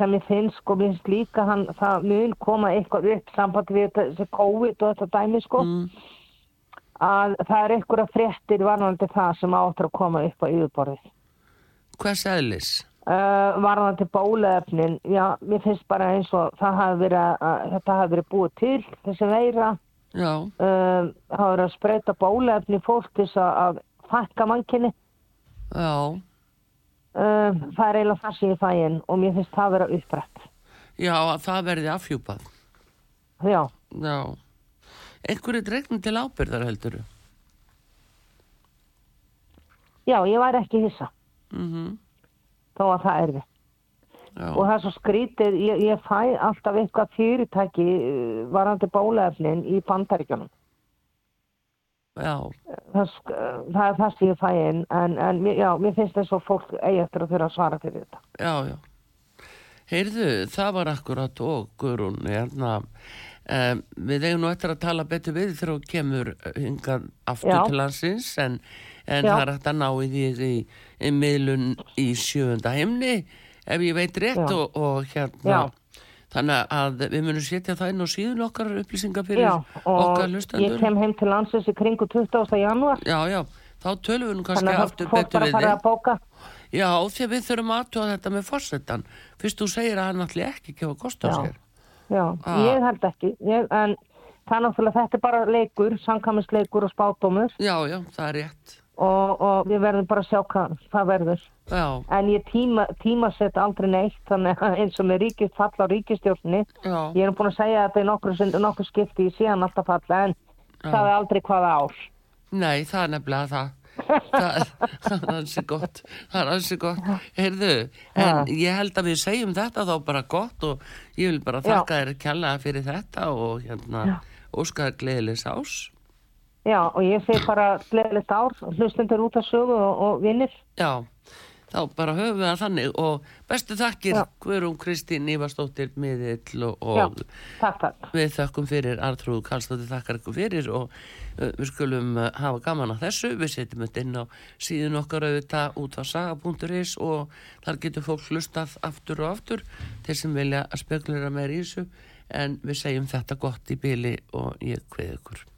Speaker 2: sem ég finnst sko, mér finnst líka hann, það mun koma eitthvað upp sambandi við þetta- þessi COVID og þetta dæmi sko
Speaker 1: Mm.
Speaker 2: að það er eitthvað fréttir varðandi það sem áttur að koma upp á yfirborðið
Speaker 1: hvers eðlis?
Speaker 2: uh, varðandi bólaefnin já, mér finnst bara eins og það hafi verið að, að þetta hafi verið búið til þessi veira uh,
Speaker 1: Já,
Speaker 2: það hafi verið að spreita bólaefni fólk til þess að, að fækka mannkinni
Speaker 1: já,
Speaker 2: uh, það er eiginlega það sem ég fæ inn og mér finnst það vera upprætt
Speaker 1: já, að það verði afhjúpað.
Speaker 2: já,
Speaker 1: Já. Einhverju dregnum til ábyrðar heldur?
Speaker 2: já, ég væri ekki hissa
Speaker 1: Mm
Speaker 2: þó að það erfi
Speaker 1: Já,
Speaker 2: og það er svo skrítið, ég, ég fæ alltaf eitthvað fyrirtæki uh, varðandi bólaefnin í bandaríkjónum
Speaker 1: já,
Speaker 2: það, sk- uh, það er það sem ég fæ inn en, en mér- já, mér finnst þess að fólk eigi eftir að þurfa að svara fyrir þetta
Speaker 1: já, já. Heyrðu, það var akkurat og Guðrún, hérna, um, við eigum nú eftir að tala betur við þegar þú kemur hingað aftur
Speaker 2: Já.
Speaker 1: til landsins, en, en
Speaker 2: Já.
Speaker 1: það er hægt að ná í því í, í miðlun í sjöfunda heimni, ef ég veit rétt
Speaker 2: Já.
Speaker 1: og, og hérna,
Speaker 2: Já.
Speaker 1: þannig að við munum setja það inn á síðun okkar upplýsingar fyrir
Speaker 2: Já, og
Speaker 1: okkar
Speaker 2: ég
Speaker 1: hlustendur.
Speaker 2: kem heim til landsins í kringu 20. janúar
Speaker 1: Já, já, þá tölum við nú kannski
Speaker 2: þannig að
Speaker 1: aftur
Speaker 2: fólk
Speaker 1: betur
Speaker 2: bara
Speaker 1: við
Speaker 2: fara
Speaker 1: þig.
Speaker 2: að bóka
Speaker 1: Já, því að við þurfum aðtúa þetta með forsetan. Fyrst þú segir að hann allir ekki gefa kost á
Speaker 2: Já.
Speaker 1: sér.
Speaker 2: Já,
Speaker 1: Ah.
Speaker 2: ég held ekki ég, en það er náttúrulega þetta er bara leikur sankamisleikur og spátumur
Speaker 1: Já, já, það er rétt.
Speaker 2: og, og við verðum bara að sjá hvað það verður
Speaker 1: Já,
Speaker 2: en ég tíma, tímasett aldrei neitt þannig að [laughs] eins og með ríkist falla á ríkistjórni
Speaker 1: já,
Speaker 2: ég er búin að segja þetta í nokkur, nokkur skipti ég sé hann alltaf falla en það er aldrei hvaða ár
Speaker 1: nei, það er nefnilega það. það er- það er ansi gott, það er ansi gott. Heyrðu, en ég held að við segjum þetta þá bara gott og ég vil bara
Speaker 2: Já.
Speaker 1: þakka þér kjallaða fyrir þetta og hérna óskaða gleðilis ás.
Speaker 2: Já, og ég segi bara gleðilegt ár, hlustendur út af sögu og, og vinnir
Speaker 1: Já, þá bara höfum við það þannig og bestu þakkir Guðrún Kristín Ívarsdóttir miðill og,
Speaker 2: Já,
Speaker 1: og
Speaker 2: takk, takk
Speaker 1: Við þökkum fyrir, Artrúð Karlsdóttir þakkar ykkur fyrir og uh, við skulum uh, hafa gaman að þessu. Við setjum þetta inn á síðun okkar auðvitað út á saga.is og þar getur fólk hlustað aftur og aftur þeir sem vilja að spekulera meira í þessu en við segjum þetta gott í byli og ég kveð ykkur.